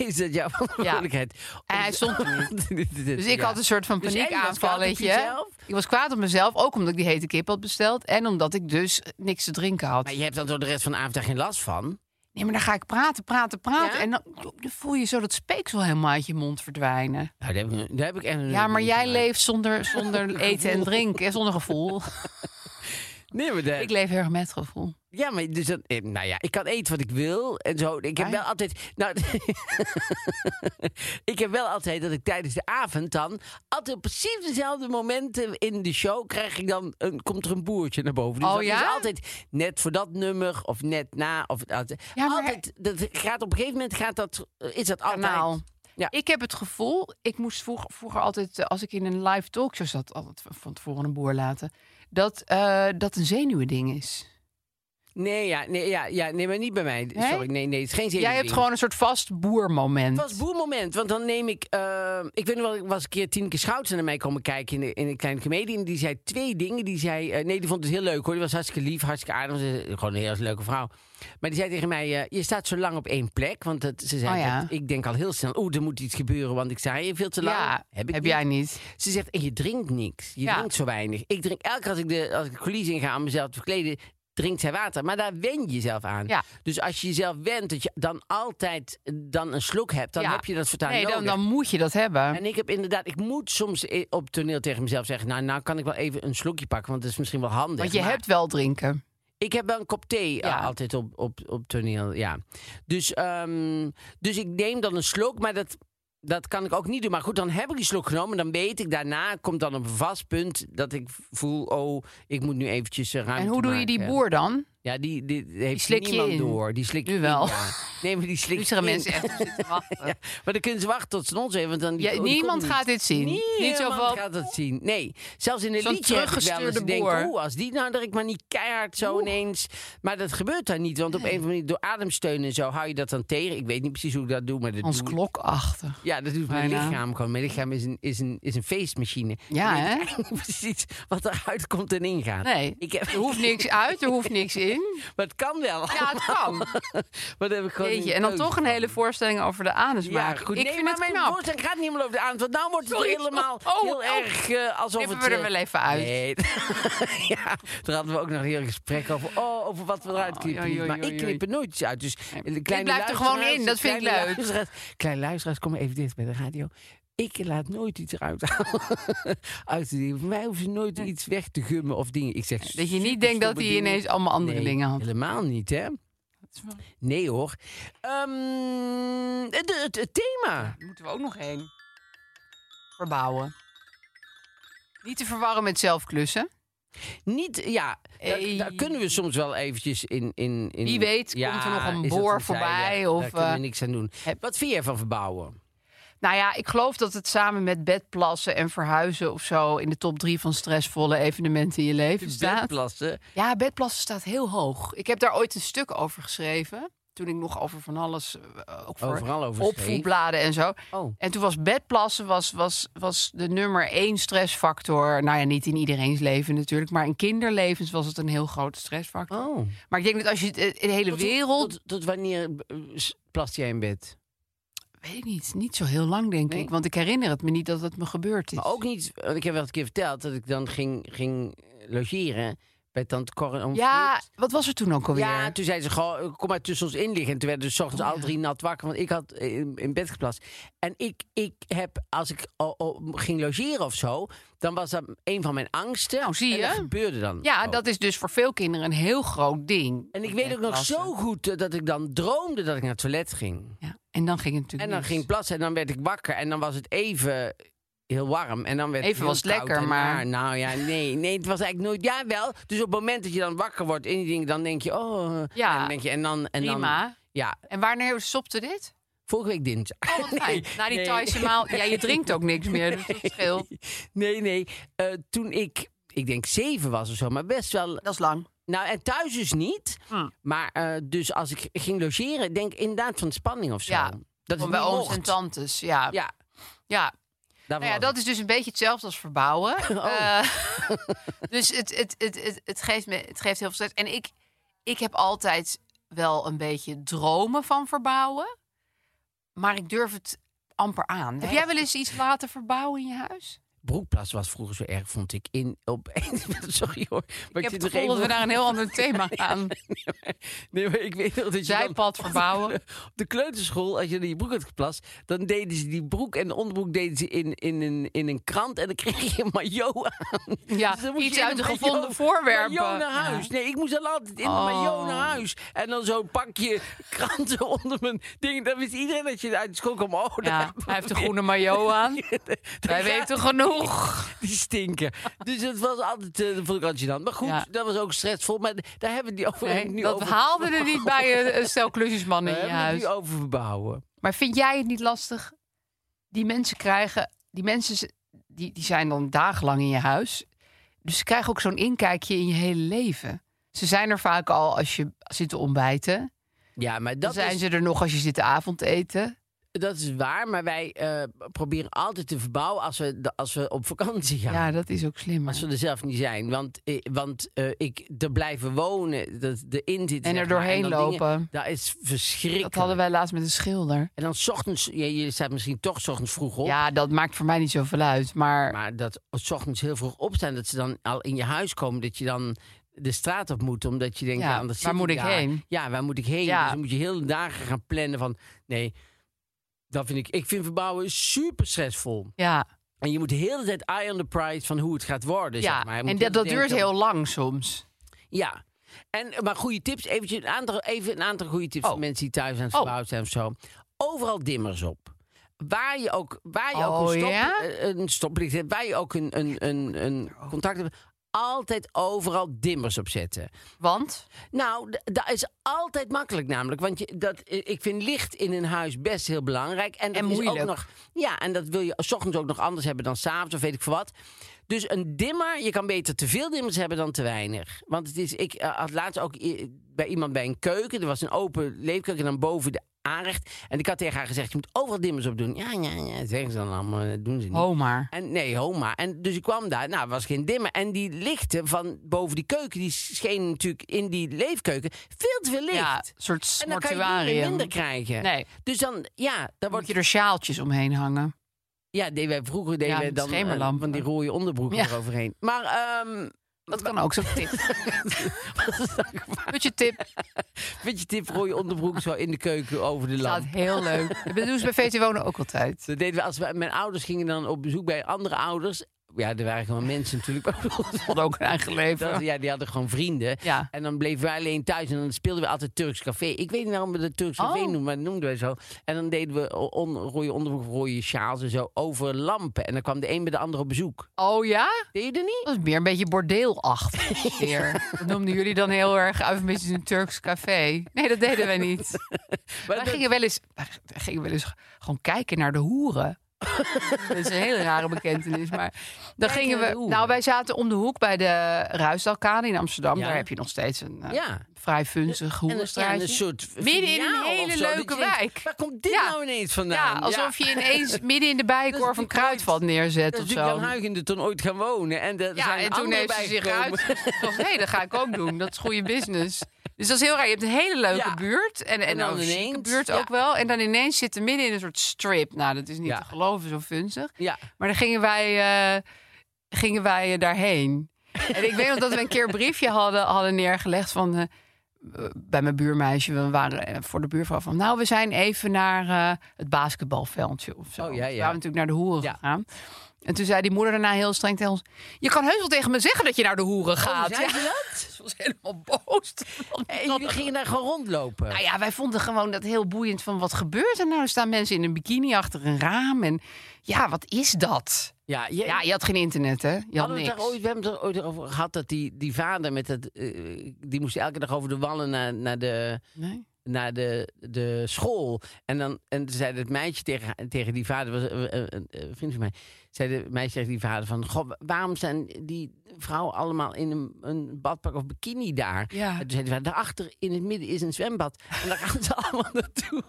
[SPEAKER 3] Is dat jouw verantwoordelijkheid?
[SPEAKER 4] En hij stond er Dus ik
[SPEAKER 3] Ja.
[SPEAKER 4] had een soort van
[SPEAKER 3] Dus en je was kwaad op
[SPEAKER 4] paniekaanvalletje.
[SPEAKER 3] jezelf?
[SPEAKER 4] Ik was kwaad op mezelf, ook omdat ik die hete kip had besteld. En omdat ik dus niks te drinken had.
[SPEAKER 3] Maar je hebt dan door de rest van de avond daar geen last van?
[SPEAKER 4] Nee, maar dan ga ik praten, praten, praten.
[SPEAKER 3] Ja?
[SPEAKER 4] En dan, dan voel je zo dat speeksel helemaal uit je mond verdwijnen.
[SPEAKER 3] Nou, daar heb ik, daar heb ik echt nog
[SPEAKER 4] Ja,
[SPEAKER 3] nooit
[SPEAKER 4] maar
[SPEAKER 3] mee
[SPEAKER 4] jij
[SPEAKER 3] gemaakt.
[SPEAKER 4] leeft zonder, zonder eten en drinken, zonder gevoel.
[SPEAKER 3] Nee, maar daar-
[SPEAKER 4] Ik leef heel erg met gevoel.
[SPEAKER 3] Ja, maar dus dat, eh, nou ja, ik kan eten wat ik wil en zo. Ik heb
[SPEAKER 4] Ah,
[SPEAKER 3] wel altijd, nou, ik heb wel altijd dat ik tijdens de avond dan altijd op precies dezelfde momenten in de show krijg ik dan een, komt er een boertje naar boven. Dus
[SPEAKER 4] Oh,
[SPEAKER 3] dat
[SPEAKER 4] ja?
[SPEAKER 3] is altijd net voor dat nummer of net na of altijd.
[SPEAKER 4] Ja, maar-
[SPEAKER 3] altijd dat gaat op een gegeven moment gaat dat is dat altijd.
[SPEAKER 4] Kanaal.
[SPEAKER 3] Ja.
[SPEAKER 4] Ik heb het gevoel, ik moest vroeger, vroeger altijd, eh, als ik in een live talkshow zat, altijd van tevoren een boer laten, dat eh, dat een zenuwending is.
[SPEAKER 3] Nee, ja, nee, ja, ja, nee, maar niet bij mij.
[SPEAKER 4] Nee?
[SPEAKER 3] Sorry, nee, nee, het is geen zin.
[SPEAKER 4] Jij hebt gewoon een soort vast boermoment.
[SPEAKER 3] Het was boermoment, want dan neem ik... eh, ik weet nog wel, ik was een keer Tienke Schouten naar mij komen kijken in, de, in een kleine comedie. En die zei twee dingen. Die zei... eh, nee, die vond het heel leuk hoor. Die was hartstikke lief, hartstikke aardig. Ze- Gewoon een heel leuke vrouw. Maar die zei tegen mij, eh, je staat zo lang op één plek. Want dat, ze zei,
[SPEAKER 4] Oh ja.
[SPEAKER 3] dat- ik denk al heel snel, oeh, er moet iets gebeuren. Want ik sta hier veel te lang.
[SPEAKER 4] ja,
[SPEAKER 3] Heb ik niet.
[SPEAKER 4] jij niet.
[SPEAKER 3] Ze zegt, en je drinkt niks. Je
[SPEAKER 4] Ja.
[SPEAKER 3] drinkt zo weinig. Ik drink elke keer als ik de, als ik de coulissen inga om mezelf te verkleden, drinkt zij water. Maar daar wen je jezelf aan.
[SPEAKER 4] Ja.
[SPEAKER 3] Dus als je jezelf went, dat je dan altijd eh, dan een slok hebt, dan
[SPEAKER 4] Ja.
[SPEAKER 3] heb je dat vertaal
[SPEAKER 4] nee, dan,
[SPEAKER 3] nodig.
[SPEAKER 4] dan moet je dat hebben.
[SPEAKER 3] En ik heb inderdaad, ik moet soms eh, op toneel tegen mezelf zeggen, nou, nou kan ik wel even een slokje pakken, want dat is misschien wel handig.
[SPEAKER 4] Want je
[SPEAKER 3] Maar
[SPEAKER 4] hebt wel drinken.
[SPEAKER 3] Ik heb wel een kop thee eh,
[SPEAKER 4] Ja.
[SPEAKER 3] altijd op, op, op toneel, ja. Dus, ehm, dus ik neem dan een slok, maar dat, dat kan ik ook niet doen. Maar goed, dan heb ik die slok genomen. Dan weet ik, daarna komt dan een vast punt dat ik voel... oh, ik moet nu eventjes eh, ruimte
[SPEAKER 4] En hoe doe je die
[SPEAKER 3] maken.
[SPEAKER 4] boer dan?
[SPEAKER 3] Ja, die, die, heeft
[SPEAKER 4] slik je
[SPEAKER 3] niemand
[SPEAKER 4] in.
[SPEAKER 3] door. Die slik
[SPEAKER 4] Nu
[SPEAKER 3] in,
[SPEAKER 4] wel.
[SPEAKER 3] ja. Nee, maar die slik
[SPEAKER 4] Nu zeggen
[SPEAKER 3] in.
[SPEAKER 4] mensen echt op zitten wachten.
[SPEAKER 3] Ja, maar dan kunnen ze wachten tot ze ons even. Want dan die-
[SPEAKER 4] Ja,
[SPEAKER 3] oh, die komt
[SPEAKER 4] niemand
[SPEAKER 3] niet.
[SPEAKER 4] gaat dit zien. niet
[SPEAKER 3] Niemand
[SPEAKER 4] zo van,
[SPEAKER 3] gaat dat zien. Nee, zelfs in een
[SPEAKER 4] Zo'n
[SPEAKER 3] liedje heb ik wel eens
[SPEAKER 4] teruggestuurde
[SPEAKER 3] denk,
[SPEAKER 4] boer.
[SPEAKER 3] hoe als die nou dat ik maar niet keihard zo ineens. Maar dat gebeurt daar niet, want op een of andere manier door ademsteun en zo hou je dat dan tegen. Ik weet niet precies hoe ik dat doe, maar dat
[SPEAKER 4] Hans
[SPEAKER 3] doe-
[SPEAKER 4] Klokachtig.
[SPEAKER 3] Ja, dat doet mijn
[SPEAKER 4] Bijna.
[SPEAKER 3] lichaam gewoon. Mijn lichaam is een, is een, is een feestmachine.
[SPEAKER 4] Ja,
[SPEAKER 3] Ik weet
[SPEAKER 4] hè?
[SPEAKER 3] eigenlijk niet precies wat eruit komt en ingaat.
[SPEAKER 4] Nee,
[SPEAKER 3] Ik heb-
[SPEAKER 4] er hoeft niks uit, er hoeft niks in. ding.
[SPEAKER 3] Maar het kan wel.
[SPEAKER 4] Ja, het kan.
[SPEAKER 3] Wat heb ik gewoon
[SPEAKER 4] Jeetje,
[SPEAKER 3] niet
[SPEAKER 4] en dan
[SPEAKER 3] leuk.
[SPEAKER 4] toch een hele voorstelling over de anus
[SPEAKER 3] Ja,
[SPEAKER 4] maken.
[SPEAKER 3] goed.
[SPEAKER 4] Ik
[SPEAKER 3] nee,
[SPEAKER 4] vind
[SPEAKER 3] maar
[SPEAKER 4] het
[SPEAKER 3] mijn
[SPEAKER 4] knap.
[SPEAKER 3] voorstelling gaat niet meer over de aandacht. Want nou wordt het
[SPEAKER 4] Sorry.
[SPEAKER 3] helemaal
[SPEAKER 4] Oh,
[SPEAKER 3] heel
[SPEAKER 4] oh.
[SPEAKER 3] erg eh, alsof
[SPEAKER 4] Knippen
[SPEAKER 3] het...
[SPEAKER 4] we er
[SPEAKER 3] eh,
[SPEAKER 4] wel even uit.
[SPEAKER 3] Nee. ja, daar hadden we ook nog een heel gesprek over. Oh, over wat we eruit
[SPEAKER 4] Oh,
[SPEAKER 3] knippen.
[SPEAKER 4] joi,
[SPEAKER 3] niet.
[SPEAKER 4] joi,
[SPEAKER 3] maar
[SPEAKER 4] joi,
[SPEAKER 3] ik
[SPEAKER 4] joi.
[SPEAKER 3] knip er nooit iets uit. Dus eh,
[SPEAKER 4] dit
[SPEAKER 3] kleine
[SPEAKER 4] blijft er gewoon
[SPEAKER 3] luisteraars,
[SPEAKER 4] in, dat vind ik
[SPEAKER 3] kleine
[SPEAKER 4] leuk.
[SPEAKER 3] Luisteraars, kleine luisteraars, kom even dicht bij de radio. Ik laat nooit iets eruit halen. uit te dingen. Voor mij hoeven ze nooit iets weg te gummen of dingen. Ik zeg,
[SPEAKER 4] Dat je niet denkt
[SPEAKER 3] superstomme
[SPEAKER 4] dat hij
[SPEAKER 3] dingen.
[SPEAKER 4] ineens allemaal andere
[SPEAKER 3] Nee,
[SPEAKER 4] dingen had.
[SPEAKER 3] Helemaal niet, hè? Nee hoor. Ehm, het, het, het thema.
[SPEAKER 4] Daar moeten we ook nog heen. Verbouwen. Niet te verwarren met zelfklussen.
[SPEAKER 3] Niet, ja, daar,
[SPEAKER 4] Hey.
[SPEAKER 3] daar kunnen we soms wel eventjes in... in, in
[SPEAKER 4] Wie weet
[SPEAKER 3] ja,
[SPEAKER 4] komt er nog een
[SPEAKER 3] is dat
[SPEAKER 4] boor
[SPEAKER 3] zijweg?
[SPEAKER 4] voorbij
[SPEAKER 3] Daar
[SPEAKER 4] of,
[SPEAKER 3] kunnen we
[SPEAKER 4] eh,
[SPEAKER 3] niks aan doen.
[SPEAKER 4] heb-
[SPEAKER 3] Wat vind jij van verbouwen?
[SPEAKER 4] Nou ja, ik geloof dat het samen met bedplassen en verhuizen of zo... in de top drie van stressvolle evenementen in je leven staat.
[SPEAKER 3] Bedplassen.
[SPEAKER 4] Ja, bedplassen staat heel hoog. Ik heb daar ooit een stuk over geschreven. Toen ik nog over van alles, eh, ook voor
[SPEAKER 3] Overal over schreef.
[SPEAKER 4] opvoedbladen en zo.
[SPEAKER 3] Oh.
[SPEAKER 4] En toen was bedplassen was, was, was de nummer één stressfactor. Nou ja, niet in iedereens leven natuurlijk. Maar in kinderlevens was het een heel grote stressfactor.
[SPEAKER 3] Oh.
[SPEAKER 4] Maar ik denk dat als je eh, de, de hele
[SPEAKER 3] Tot-
[SPEAKER 4] wereld...
[SPEAKER 3] Tot, tot wanneer eh, s- plast jij in bed?
[SPEAKER 4] Weet ik niet, niet zo heel lang denk
[SPEAKER 3] Nee.
[SPEAKER 4] ik. Want ik herinner het me niet dat het me gebeurd is.
[SPEAKER 3] Maar ook niet, want ik heb wel eens een keer verteld dat ik dan ging, ging eh, logeren bij tante Corrie. om
[SPEAKER 4] Ja,
[SPEAKER 3] Vliet.
[SPEAKER 4] wat was er toen ook alweer?
[SPEAKER 3] Ja, toen zei ze gewoon, kom maar tussen ons in liggen. En toen werden ze 's ochtends al drie nat wakker, want ik had in, in bed geplast. En ik, ik heb, als ik o- o- ging logeren of zo, dan was dat een van mijn angsten.
[SPEAKER 4] Nou, zie
[SPEAKER 3] En dat
[SPEAKER 4] je.
[SPEAKER 3] gebeurde dan
[SPEAKER 4] ja
[SPEAKER 3] ook.
[SPEAKER 4] dat is dus voor veel kinderen een heel groot ding.
[SPEAKER 3] En ik weet ook nog
[SPEAKER 4] Bedplassen.
[SPEAKER 3] zo goed eh, dat ik dan droomde dat ik naar het toilet ging.
[SPEAKER 4] Ja, en dan ging het natuurlijk
[SPEAKER 3] En dan
[SPEAKER 4] mis.
[SPEAKER 3] ging ik plassen en dan werd ik wakker. En dan was het even heel warm. En dan werd
[SPEAKER 4] Even
[SPEAKER 3] heel
[SPEAKER 4] was het
[SPEAKER 3] koud
[SPEAKER 4] lekker,
[SPEAKER 3] en naar.
[SPEAKER 4] maar-
[SPEAKER 3] Nou ja, nee, nee, het was eigenlijk nooit... Ja, wel. Dus op het moment dat je dan wakker wordt in die dingen, dan denk je... Oh,
[SPEAKER 4] Ja,
[SPEAKER 3] en dan denk je, en dan... En
[SPEAKER 4] Prima.
[SPEAKER 3] Dan, ja,
[SPEAKER 4] En wanneer stopte dit?
[SPEAKER 3] vorige week dinsdag.
[SPEAKER 4] Oh, wat fijn. Na die Thaise maal. Ja, je drinkt ook niks meer, dus dat scheelt.
[SPEAKER 3] Nee, nee. Eh, toen ik, ik denk zeven was of zo, maar best wel...
[SPEAKER 4] Dat Hmm. is lang.
[SPEAKER 3] Nou, en thuis dus niet. Maar eh, dus als ik ging logeren, denk ik inderdaad van spanning of zo.
[SPEAKER 4] Ja,
[SPEAKER 3] dat
[SPEAKER 4] Van
[SPEAKER 3] het
[SPEAKER 4] bij
[SPEAKER 3] niet
[SPEAKER 4] ooms
[SPEAKER 3] mocht.
[SPEAKER 4] en tantes. Ja. ja.
[SPEAKER 3] Ja, daarvan
[SPEAKER 4] Nou ja,
[SPEAKER 3] was
[SPEAKER 4] dat
[SPEAKER 3] het.
[SPEAKER 4] is dus een beetje hetzelfde als verbouwen. Eh, dus het, het, het, het, het, geeft me, het geeft heel veel stress. En ik, ik heb altijd wel een beetje dromen van verbouwen. Maar ik durf het amper aan. Heb jij wel eens iets laten verbouwen in je huis?
[SPEAKER 3] Broekplas was vroeger zo erg, vond ik. In, op, sorry hoor. Maar
[SPEAKER 4] ik
[SPEAKER 3] zit
[SPEAKER 4] heb het
[SPEAKER 3] nog
[SPEAKER 4] gevoel dat we
[SPEAKER 3] even-
[SPEAKER 4] naar een heel ander thema gaan.
[SPEAKER 3] Nee, maar- Nee, maar ik weet nog dat je dan-
[SPEAKER 4] Zijpad verbouwen.
[SPEAKER 3] Op de kleuterschool, als je dan je broek had geplast... dan deden ze die broek en de onderbroek deden ze in, in, een, in een krant... en dan kreeg je een maillot aan.
[SPEAKER 4] Ja,
[SPEAKER 3] dan moest
[SPEAKER 4] iets
[SPEAKER 3] je in
[SPEAKER 4] uit
[SPEAKER 3] een
[SPEAKER 4] de
[SPEAKER 3] maillot-
[SPEAKER 4] gevonden voorwerpen.
[SPEAKER 3] Maillot naar
[SPEAKER 4] Ja.
[SPEAKER 3] huis. Nee, ik moest al altijd in een
[SPEAKER 4] Oh.
[SPEAKER 3] maillot naar huis. En dan zo'n pakje kranten onder mijn ding. Dan wist iedereen dat je uit de school kwam. Oh, daar
[SPEAKER 4] Ja,
[SPEAKER 3] hebben we
[SPEAKER 4] hij heeft de
[SPEAKER 3] weer.
[SPEAKER 4] groene maillot aan.
[SPEAKER 3] Daar
[SPEAKER 4] Wij
[SPEAKER 3] gaat
[SPEAKER 4] weten genoeg.
[SPEAKER 3] die stinken. Dus dat was altijd, eh, dat vond ik altijd gênant. Maar goed,
[SPEAKER 4] Ja.
[SPEAKER 3] dat was ook stressvol. Maar daar hebben we het niet over.
[SPEAKER 4] Nee,
[SPEAKER 3] nu
[SPEAKER 4] dat
[SPEAKER 3] over,
[SPEAKER 4] haalde er niet bij een, een stel klusjesman
[SPEAKER 3] we
[SPEAKER 4] in je
[SPEAKER 3] hebben het
[SPEAKER 4] huis.
[SPEAKER 3] nu over verbouwen.
[SPEAKER 4] Maar vind jij het niet lastig? Die mensen krijgen, die mensen z- die, die zijn dan dagenlang in je huis. Dus ze krijgen ook zo'n inkijkje in je hele leven. Ze zijn er vaak al als je zit te ontbijten. Dan
[SPEAKER 3] Ja, maar dat,
[SPEAKER 4] zijn
[SPEAKER 3] is,
[SPEAKER 4] ze er nog als je zit te avondeten.
[SPEAKER 3] dat is waar. Maar wij eh, proberen altijd te verbouwen als we, de- als we op vakantie
[SPEAKER 4] Ja,
[SPEAKER 3] gaan.
[SPEAKER 4] dat is ook slim.
[SPEAKER 3] Als
[SPEAKER 4] hè?
[SPEAKER 3] we er zelf niet zijn. Want, eh, want eh, ik, er blijven wonen, dat erin zitten.
[SPEAKER 4] En
[SPEAKER 3] zeg maar,
[SPEAKER 4] er doorheen
[SPEAKER 3] en dat dingen-
[SPEAKER 4] lopen.
[SPEAKER 3] dat is verschrikkelijk.
[SPEAKER 4] Dat hadden wij laatst met een schilder.
[SPEAKER 3] En dan 's ochtends, je, je staat misschien toch 's ochtends vroeg op.
[SPEAKER 4] Ja, dat maakt voor mij niet zoveel uit. Maar
[SPEAKER 3] Maar dat s ochtends heel vroeg opstaan, dat ze dan al in je huis komen, dat je dan de straat op moet, omdat je denkt,
[SPEAKER 4] Ja,
[SPEAKER 3] ja, anders
[SPEAKER 4] waar
[SPEAKER 3] zit
[SPEAKER 4] moet ik
[SPEAKER 3] daar.
[SPEAKER 4] heen?
[SPEAKER 3] Ja, waar moet ik heen?
[SPEAKER 4] Ja.
[SPEAKER 3] Dus dan moet je heel de dagen gaan plannen van, nee, dat vind ik. Ik vind verbouwen super stressvol.
[SPEAKER 4] ja,
[SPEAKER 3] En je moet de hele tijd eye on the prize van hoe het gaat worden.
[SPEAKER 4] ja.
[SPEAKER 3] Dus zeg maar. Je moet
[SPEAKER 4] en
[SPEAKER 3] de hele
[SPEAKER 4] dat, dat
[SPEAKER 3] tijd
[SPEAKER 4] duurt
[SPEAKER 3] denken-
[SPEAKER 4] heel lang soms.
[SPEAKER 3] Ja. En, maar goede tips, eventjes een aantal, even een aantal goede tips
[SPEAKER 4] Oh.
[SPEAKER 3] voor mensen die thuis aan het
[SPEAKER 4] Oh.
[SPEAKER 3] verbouwen zijn of zo. Overal dimmers op. Waar je ook, waar je ook
[SPEAKER 4] Oh,
[SPEAKER 3] een, stop,
[SPEAKER 4] ja? Oh.
[SPEAKER 3] eh, een stoplicht hebt, waar je ook een, een, een, een contact hebt, altijd overal dimmers op zetten.
[SPEAKER 4] Want
[SPEAKER 3] Nou, d- dat is altijd makkelijk namelijk. Want je, dat, eh, ik vind licht in een huis best heel belangrijk. En, dat
[SPEAKER 4] En
[SPEAKER 3] is
[SPEAKER 4] moeilijk.
[SPEAKER 3] Ook nog, ja, en dat wil je s ochtends ook nog anders hebben dan s'avonds of weet ik veel wat. Dus een dimmer, je kan beter te veel dimmers hebben dan te weinig. Want het is, ik eh, had laatst ook i- bij iemand bij een keuken, er was een open leefkeuken en dan boven de aanrecht. En ik had tegen haar gezegd, je moet overal dimmers op doen. Ja, ja, ja, zeggen ze dan allemaal, dat doen ze niet.
[SPEAKER 4] Ho maar.
[SPEAKER 3] En nee, homa. En dus ik kwam daar, nou, er was geen dimmer. En die lichten van boven die keuken, die schenen natuurlijk in die leefkeuken veel te veel licht.
[SPEAKER 4] Ja, een soort
[SPEAKER 3] en dan kan je niet meer
[SPEAKER 4] mortuarium.
[SPEAKER 3] minder krijgen.
[SPEAKER 4] Nee,
[SPEAKER 3] Dus dan, ja, dan
[SPEAKER 4] moet
[SPEAKER 3] word
[SPEAKER 4] je
[SPEAKER 3] je...
[SPEAKER 4] er sjaaltjes omheen hangen.
[SPEAKER 3] Ja, deden wij vroeger deden
[SPEAKER 4] Ja,
[SPEAKER 3] wij
[SPEAKER 4] met
[SPEAKER 3] dan eh,
[SPEAKER 4] schemerlampen.
[SPEAKER 3] van die rode onderbroeken
[SPEAKER 4] Ja.
[SPEAKER 3] eroverheen. Maar, ehm
[SPEAKER 4] Dat kan ook zo'n tip.
[SPEAKER 3] wat is dat gevaar?
[SPEAKER 4] Putje tip.
[SPEAKER 3] Vind je tip rode onderbroek zo in de keuken over de
[SPEAKER 4] Staat
[SPEAKER 3] lamp?
[SPEAKER 4] heel leuk. Dat doen ze bij VT Wonen ook altijd.
[SPEAKER 3] Dat deden we als we, mijn ouders gingen dan op bezoek bij andere ouders. Ja, er waren gewoon mensen natuurlijk. maar
[SPEAKER 4] Hadden ook een eigen leven.
[SPEAKER 3] Dat- ja, die hadden gewoon vrienden.
[SPEAKER 4] Ja.
[SPEAKER 3] En dan bleven wij alleen thuis en dan speelden we altijd Turks Café. Ik weet niet waarom we dat Turks Café
[SPEAKER 4] Oh.
[SPEAKER 3] noemen, maar dat noemden wij zo. En dan deden we on, rode onderbroek, rode sjaals en zo over lampen. En dan kwam de een bij de ander op bezoek.
[SPEAKER 4] Oh ja?
[SPEAKER 3] Deed je dat niet?
[SPEAKER 4] Dat is meer een beetje bordeelachtig. Weer. Dat noemden jullie dan heel erg eufemistisch een Turks café. Nee, dat deden wij niet.
[SPEAKER 3] Maar
[SPEAKER 4] Wij
[SPEAKER 3] dat-
[SPEAKER 4] gingen wel eens, wij gingen wel eens gewoon kijken naar de hoeren. dat is een hele rare bekentenis. Maar dan
[SPEAKER 3] Kijken
[SPEAKER 4] gingen
[SPEAKER 3] naar de
[SPEAKER 4] we.
[SPEAKER 3] hoeren.
[SPEAKER 4] Nou, wij zaten om de hoek bij de Ruisdalkade in Amsterdam.
[SPEAKER 3] Ja.
[SPEAKER 4] Daar heb je nog steeds een eh,
[SPEAKER 3] Ja.
[SPEAKER 4] vrij funzig
[SPEAKER 3] En een, ja,
[SPEAKER 4] hoerenstraatje.
[SPEAKER 3] een soort
[SPEAKER 4] Midden in een
[SPEAKER 3] filiaal of
[SPEAKER 4] hele
[SPEAKER 3] zo, dat je
[SPEAKER 4] leuke
[SPEAKER 3] denkt,
[SPEAKER 4] wijk.
[SPEAKER 3] Waar komt dit
[SPEAKER 4] Ja.
[SPEAKER 3] nou ineens vandaan?
[SPEAKER 4] ja, alsof je ineens midden in de
[SPEAKER 3] Dat
[SPEAKER 4] bijenkorf
[SPEAKER 3] is
[SPEAKER 4] een
[SPEAKER 3] natuurlijk
[SPEAKER 4] kruidvat neerzet
[SPEAKER 3] Dat
[SPEAKER 4] of
[SPEAKER 3] is natuurlijk
[SPEAKER 4] zo.
[SPEAKER 3] Jan Huygen er toen ooit gaan wonen. En eh, er
[SPEAKER 4] Ja,
[SPEAKER 3] zijn
[SPEAKER 4] en toen
[SPEAKER 3] anderen
[SPEAKER 4] heeft ze zich
[SPEAKER 3] bijgekomen.
[SPEAKER 4] eruit gezocht. Nee, dat ga ik ook doen. Dat is goede business. Dus dat is heel raar. Je hebt een hele leuke
[SPEAKER 3] Ja.
[SPEAKER 4] buurt. En, en,
[SPEAKER 3] En dan
[SPEAKER 4] ook een chique
[SPEAKER 3] ineens,
[SPEAKER 4] buurt
[SPEAKER 3] ja.
[SPEAKER 4] ook wel. En dan ineens zitten we midden in een soort strip. Nou, dat is niet
[SPEAKER 3] Ja.
[SPEAKER 4] te geloven, zo funzig.
[SPEAKER 3] Ja.
[SPEAKER 4] Maar dan gingen wij, eh, gingen wij eh, daarheen. En ik weet nog dat we een keer een briefje hadden, hadden neergelegd van... eh, bij mijn buurmeisje, we waren eh, voor de buurvrouw van... nou, we zijn even naar eh, het basketbalveldje of zo.
[SPEAKER 3] Oh, ja,
[SPEAKER 4] Toen
[SPEAKER 3] ja.
[SPEAKER 4] waren we natuurlijk naar de hoeren
[SPEAKER 3] Ja.
[SPEAKER 4] gegaan. En toen zei die moeder daarna heel streng tegen ons... je kan heus wel tegen me zeggen dat je naar de hoeren gaat.
[SPEAKER 3] Oh, zei ze
[SPEAKER 4] dat? Ze was helemaal boos.
[SPEAKER 3] En jullie gingen daar gewoon rondlopen.
[SPEAKER 4] Nou ja, wij vonden gewoon dat heel boeiend van wat gebeurt er nou? Er staan mensen in een bikini achter een raam en ja, wat is dat?
[SPEAKER 3] Ja, je,
[SPEAKER 4] Ja, je had geen internet, hè? Je had
[SPEAKER 3] hadden we, het
[SPEAKER 4] niks.
[SPEAKER 3] daar ooit, we hebben het er ooit over gehad dat die, die vader met dat... eh, die moest elke dag over de wallen naar, naar de...
[SPEAKER 4] Nee.
[SPEAKER 3] naar de, de school. En dan en toen zei het meisje tegen, haar- tegen die vader, was eh, eh, een eh, vriend van mij, zei het meisje tegen die vader van, goh, waarom zijn die vrouwen allemaal in een, een badpak of bikini daar?
[SPEAKER 4] Ja.
[SPEAKER 3] En toen zei die vader, daarachter in het midden is een zwembad. En daar gaan ze allemaal naartoe.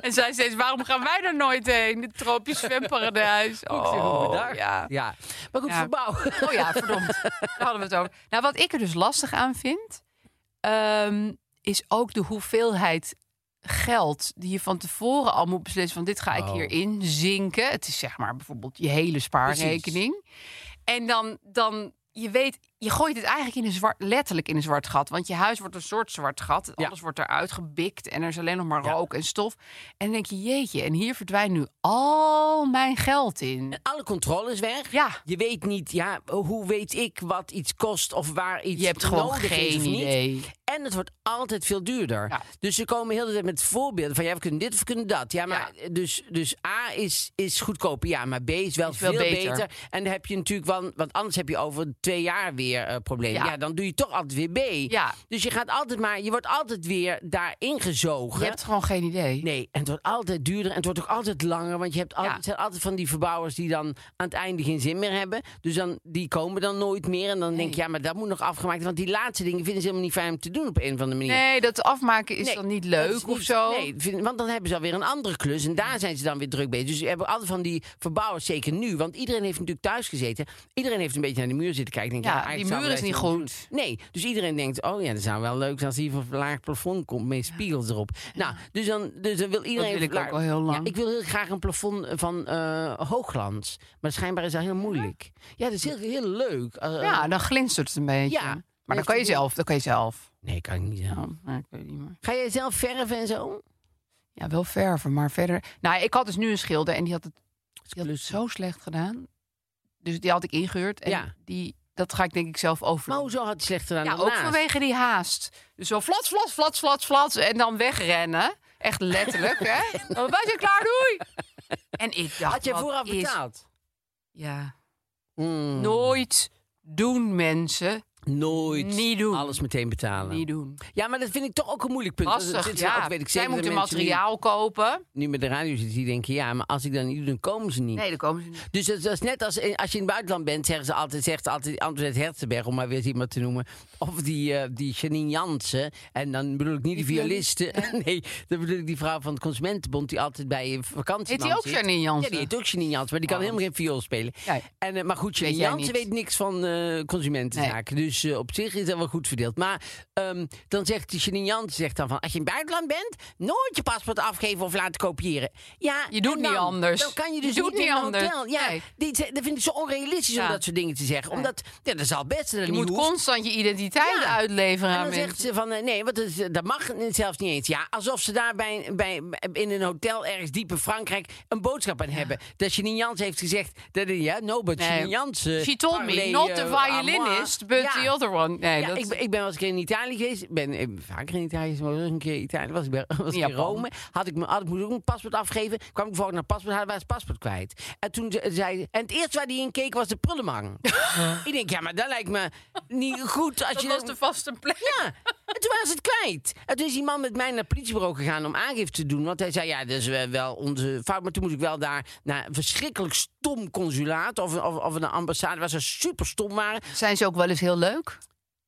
[SPEAKER 4] En zij steeds, waarom gaan wij daar nooit heen? Het tropisch zwemparadijs.
[SPEAKER 3] Ik zeg, hoe
[SPEAKER 4] Oh,
[SPEAKER 3] bedacht.
[SPEAKER 4] ja.
[SPEAKER 3] ja. Maar goed,
[SPEAKER 4] Ja.
[SPEAKER 3] verbouwen.
[SPEAKER 4] Oh ja, verdomd. Daar hadden we het over. Nou, wat ik er dus lastig aan vind, ehm, is ook de hoeveelheid geld die je van tevoren al moet beslissen van dit ga ik
[SPEAKER 3] Oh.
[SPEAKER 4] hierin zinken. Het is zeg maar bijvoorbeeld je hele spaarrekening. En dan, dan je weet, je gooit het eigenlijk in een zwart, letterlijk in een zwart gat. Want je huis wordt een soort zwart gat.
[SPEAKER 3] Ja.
[SPEAKER 4] Alles wordt eruit gebikt en er is alleen nog maar
[SPEAKER 3] Ja.
[SPEAKER 4] rook en stof. En dan denk je, jeetje, en hier verdwijnt nu al mijn geld in.
[SPEAKER 3] Alle controle is weg.
[SPEAKER 4] Ja.
[SPEAKER 3] Je weet niet, ja, hoe weet ik wat iets kost of waar iets
[SPEAKER 4] Je hebt gewoon
[SPEAKER 3] nodig is
[SPEAKER 4] geen
[SPEAKER 3] of niet.
[SPEAKER 4] idee.
[SPEAKER 3] En het wordt altijd veel duurder.
[SPEAKER 4] Ja.
[SPEAKER 3] Dus ze komen heel de tijd met voorbeelden van ja, we kunnen dit of we kunnen dat. Ja, maar Dus, dus A is, is goedkoper, ja, maar B is wel
[SPEAKER 4] wel
[SPEAKER 3] veel
[SPEAKER 4] beter.
[SPEAKER 3] beter. En dan heb je natuurlijk, want, want anders heb je over twee jaar weer eh, problemen.
[SPEAKER 4] Ja.
[SPEAKER 3] Ja. dan doe je toch altijd weer B.
[SPEAKER 4] Ja.
[SPEAKER 3] Dus je gaat altijd maar, je wordt altijd weer daarin gezogen.
[SPEAKER 4] Je hebt gewoon geen idee.
[SPEAKER 3] Nee, en het wordt altijd duurder en het wordt ook altijd langer. Want je hebt al,
[SPEAKER 4] Ja.
[SPEAKER 3] het zijn altijd van die verbouwers die dan aan het einde geen zin meer hebben. Dus dan, die komen dan nooit meer. En dan denk je, ja, maar dat moet nog afgemaakt worden. Want die laatste dingen vinden ze helemaal niet fijn om te doen op een of andere manier.
[SPEAKER 4] Nee, dat afmaken is
[SPEAKER 3] Nee,
[SPEAKER 4] dan niet
[SPEAKER 3] dat
[SPEAKER 4] leuk
[SPEAKER 3] is
[SPEAKER 4] of
[SPEAKER 3] niet-
[SPEAKER 4] zo.
[SPEAKER 3] Nee, vind- want dan hebben ze alweer een andere klus. En daar zijn ze dan weer druk bezig. Dus we hebben altijd van die verbouwers, zeker nu. Want iedereen heeft natuurlijk thuis gezeten. Iedereen heeft een beetje naar de muur zitten kijken. Denk,
[SPEAKER 4] Ja,
[SPEAKER 3] ja, eigenlijk
[SPEAKER 4] die
[SPEAKER 3] zouden
[SPEAKER 4] muur
[SPEAKER 3] wij
[SPEAKER 4] is
[SPEAKER 3] het
[SPEAKER 4] niet
[SPEAKER 3] moeten
[SPEAKER 4] goed.
[SPEAKER 3] doen. Nee, dus iedereen denkt, oh ja, dat zou wel leuk zijn als hier van een laag plafond komt met spiegels erop. Nou, dus dan, dus dan wil iedereen...
[SPEAKER 4] wil ik
[SPEAKER 3] laag-
[SPEAKER 4] ook al heel lang.
[SPEAKER 3] Ja, ik wil heel graag een plafond van eh, hoogglans. Maar schijnbaar is dat heel moeilijk. Ja, dat is heel, heel leuk. Eh,
[SPEAKER 4] Ja, dan glinstert het een beetje.
[SPEAKER 3] Ja.
[SPEAKER 4] Maar dan kan je zelf, dan kan je zelf.
[SPEAKER 3] Nee, kan ik niet zeggen.
[SPEAKER 4] Oh, nou, ik weet niet meer.
[SPEAKER 3] Ga jij zelf verven en zo?
[SPEAKER 4] Ja, wel verven, maar verder. Nou, ik had dus nu een schilder en die had het, die had het
[SPEAKER 3] Klus.
[SPEAKER 4] zo slecht gedaan. Dus die had ik ingehuurd en
[SPEAKER 3] Ja.
[SPEAKER 4] die, dat ga ik denk ik zelf over.
[SPEAKER 3] Maar hoezo Nou, had je slecht gedaan
[SPEAKER 4] Ja, ook
[SPEAKER 3] daarnaast?
[SPEAKER 4] vanwege die haast. Dus zo flats, flats, flats, flats, flats en dan wegrennen. Echt letterlijk, hè? Oh, wij zijn klaar, doei! En ik dacht,
[SPEAKER 3] Had je
[SPEAKER 4] wat
[SPEAKER 3] vooraf
[SPEAKER 4] is- Hmm.
[SPEAKER 3] betaald?
[SPEAKER 4] Ja.
[SPEAKER 3] Mm.
[SPEAKER 4] Nooit doen mensen.
[SPEAKER 3] Nooit
[SPEAKER 4] Niet doen.
[SPEAKER 3] alles meteen betalen.
[SPEAKER 4] Niet doen.
[SPEAKER 3] Ja, maar dat vind ik toch ook een moeilijk punt. Want dat
[SPEAKER 4] Lastig,
[SPEAKER 3] zitten ze
[SPEAKER 4] ja.
[SPEAKER 3] ook, weet ik
[SPEAKER 4] Zij
[SPEAKER 3] zeker, de
[SPEAKER 4] moeten
[SPEAKER 3] mensen die Mm.
[SPEAKER 4] materiaal kopen.
[SPEAKER 3] Nu met de radio zitten, die denken, ja, maar als ik dat niet doe, dan komen ze niet.
[SPEAKER 4] Nee, daar komen ze niet.
[SPEAKER 3] Dus dat, dat is net als in- als je in het buitenland bent, zeggen ze altijd, zegt altijd Antoinette Herzenberg, om maar weer eens iemand te noemen. Of die, eh, die Janine Jansen. En dan bedoel ik niet die violiste. Nee, dan bedoel ik die vrouw van het Consumentenbond die altijd bij een vakantie
[SPEAKER 4] Heet die ook Janine Jansen?
[SPEAKER 3] Ja, die heet ook Janine Jansen, maar die kan helemaal geen viool spelen.
[SPEAKER 4] Nee.
[SPEAKER 3] En, eh, maar goed,
[SPEAKER 4] Weet
[SPEAKER 3] Janine
[SPEAKER 4] jij
[SPEAKER 3] Jansen
[SPEAKER 4] niet.
[SPEAKER 3] weet niks van eh, consumentenzaken. Dus eh, op zich is dat wel goed verdeeld. Maar ehm, dan zegt die Janine Jansen zegt dan van, als je in het buitenland bent, nooit je paspoort afgeven of laten kopiëren. Ja,
[SPEAKER 4] Je doet
[SPEAKER 3] en
[SPEAKER 4] niet
[SPEAKER 3] dan?
[SPEAKER 4] anders.
[SPEAKER 3] Dan kan je
[SPEAKER 4] Je
[SPEAKER 3] dus
[SPEAKER 4] doet
[SPEAKER 3] niet
[SPEAKER 4] niet
[SPEAKER 3] in een
[SPEAKER 4] anders.
[SPEAKER 3] hotel. Ja,
[SPEAKER 4] Nee.
[SPEAKER 3] die, ze- dat vind ik zo onrealistisch om
[SPEAKER 4] Ja.
[SPEAKER 3] dat soort dingen te zeggen. Omdat, ja, dat zal best dat
[SPEAKER 4] Je
[SPEAKER 3] niet
[SPEAKER 4] moet
[SPEAKER 3] hoeft.
[SPEAKER 4] constant je identiteit
[SPEAKER 3] Ja.
[SPEAKER 4] uitleveren
[SPEAKER 3] En
[SPEAKER 4] aan
[SPEAKER 3] dan
[SPEAKER 4] mensen.
[SPEAKER 3] zegt ze van, eh, nee, want dat, is- dat mag zelfs niet eens. Ja, alsof ze daar bij, bij, in een hotel ergens diep in Frankrijk een boodschap aan hebben. Dat Janine Jans heeft gezegd, dat, ja, no, but
[SPEAKER 4] Nee.
[SPEAKER 3] Janine Jans... eh,
[SPEAKER 4] She told me,
[SPEAKER 3] parlez,
[SPEAKER 4] not the
[SPEAKER 3] eh, à moi.
[SPEAKER 4] violinist, but
[SPEAKER 3] Ja.
[SPEAKER 4] the other one. Nee,
[SPEAKER 3] ja,
[SPEAKER 4] dat...
[SPEAKER 3] ik, ben- ik ben wel eens een keer in Italië geweest. Ik ben eh, vaker in Italië geweest, maar wel eens een keer in Italië. Was ik bij, was ik in
[SPEAKER 4] Japan.
[SPEAKER 3] Rome. Had ik, mijn- had ik moest ook mijn paspoort afgeven. Kwam ik voor naar paspoort, hadden was het paspoort kwijt. En toen ze- zei En het eerste waar die in keek was de prullenmang. ik denk, ja, maar dat lijkt me niet goed. Als
[SPEAKER 4] dat
[SPEAKER 3] je
[SPEAKER 4] was de vaste plek.
[SPEAKER 3] ja, en toen was het kwijt. En toen is die man met mij naar het politiebureau gegaan om aangifte te doen. Want hij zei, ja, dat is eh, wel onze fout. Maar toen moest ik wel daar naar een verschrikkelijk stom consulaat of, of, of een ambassade... waar ze super stom waren.
[SPEAKER 4] Zijn ze ook wel eens heel leuk?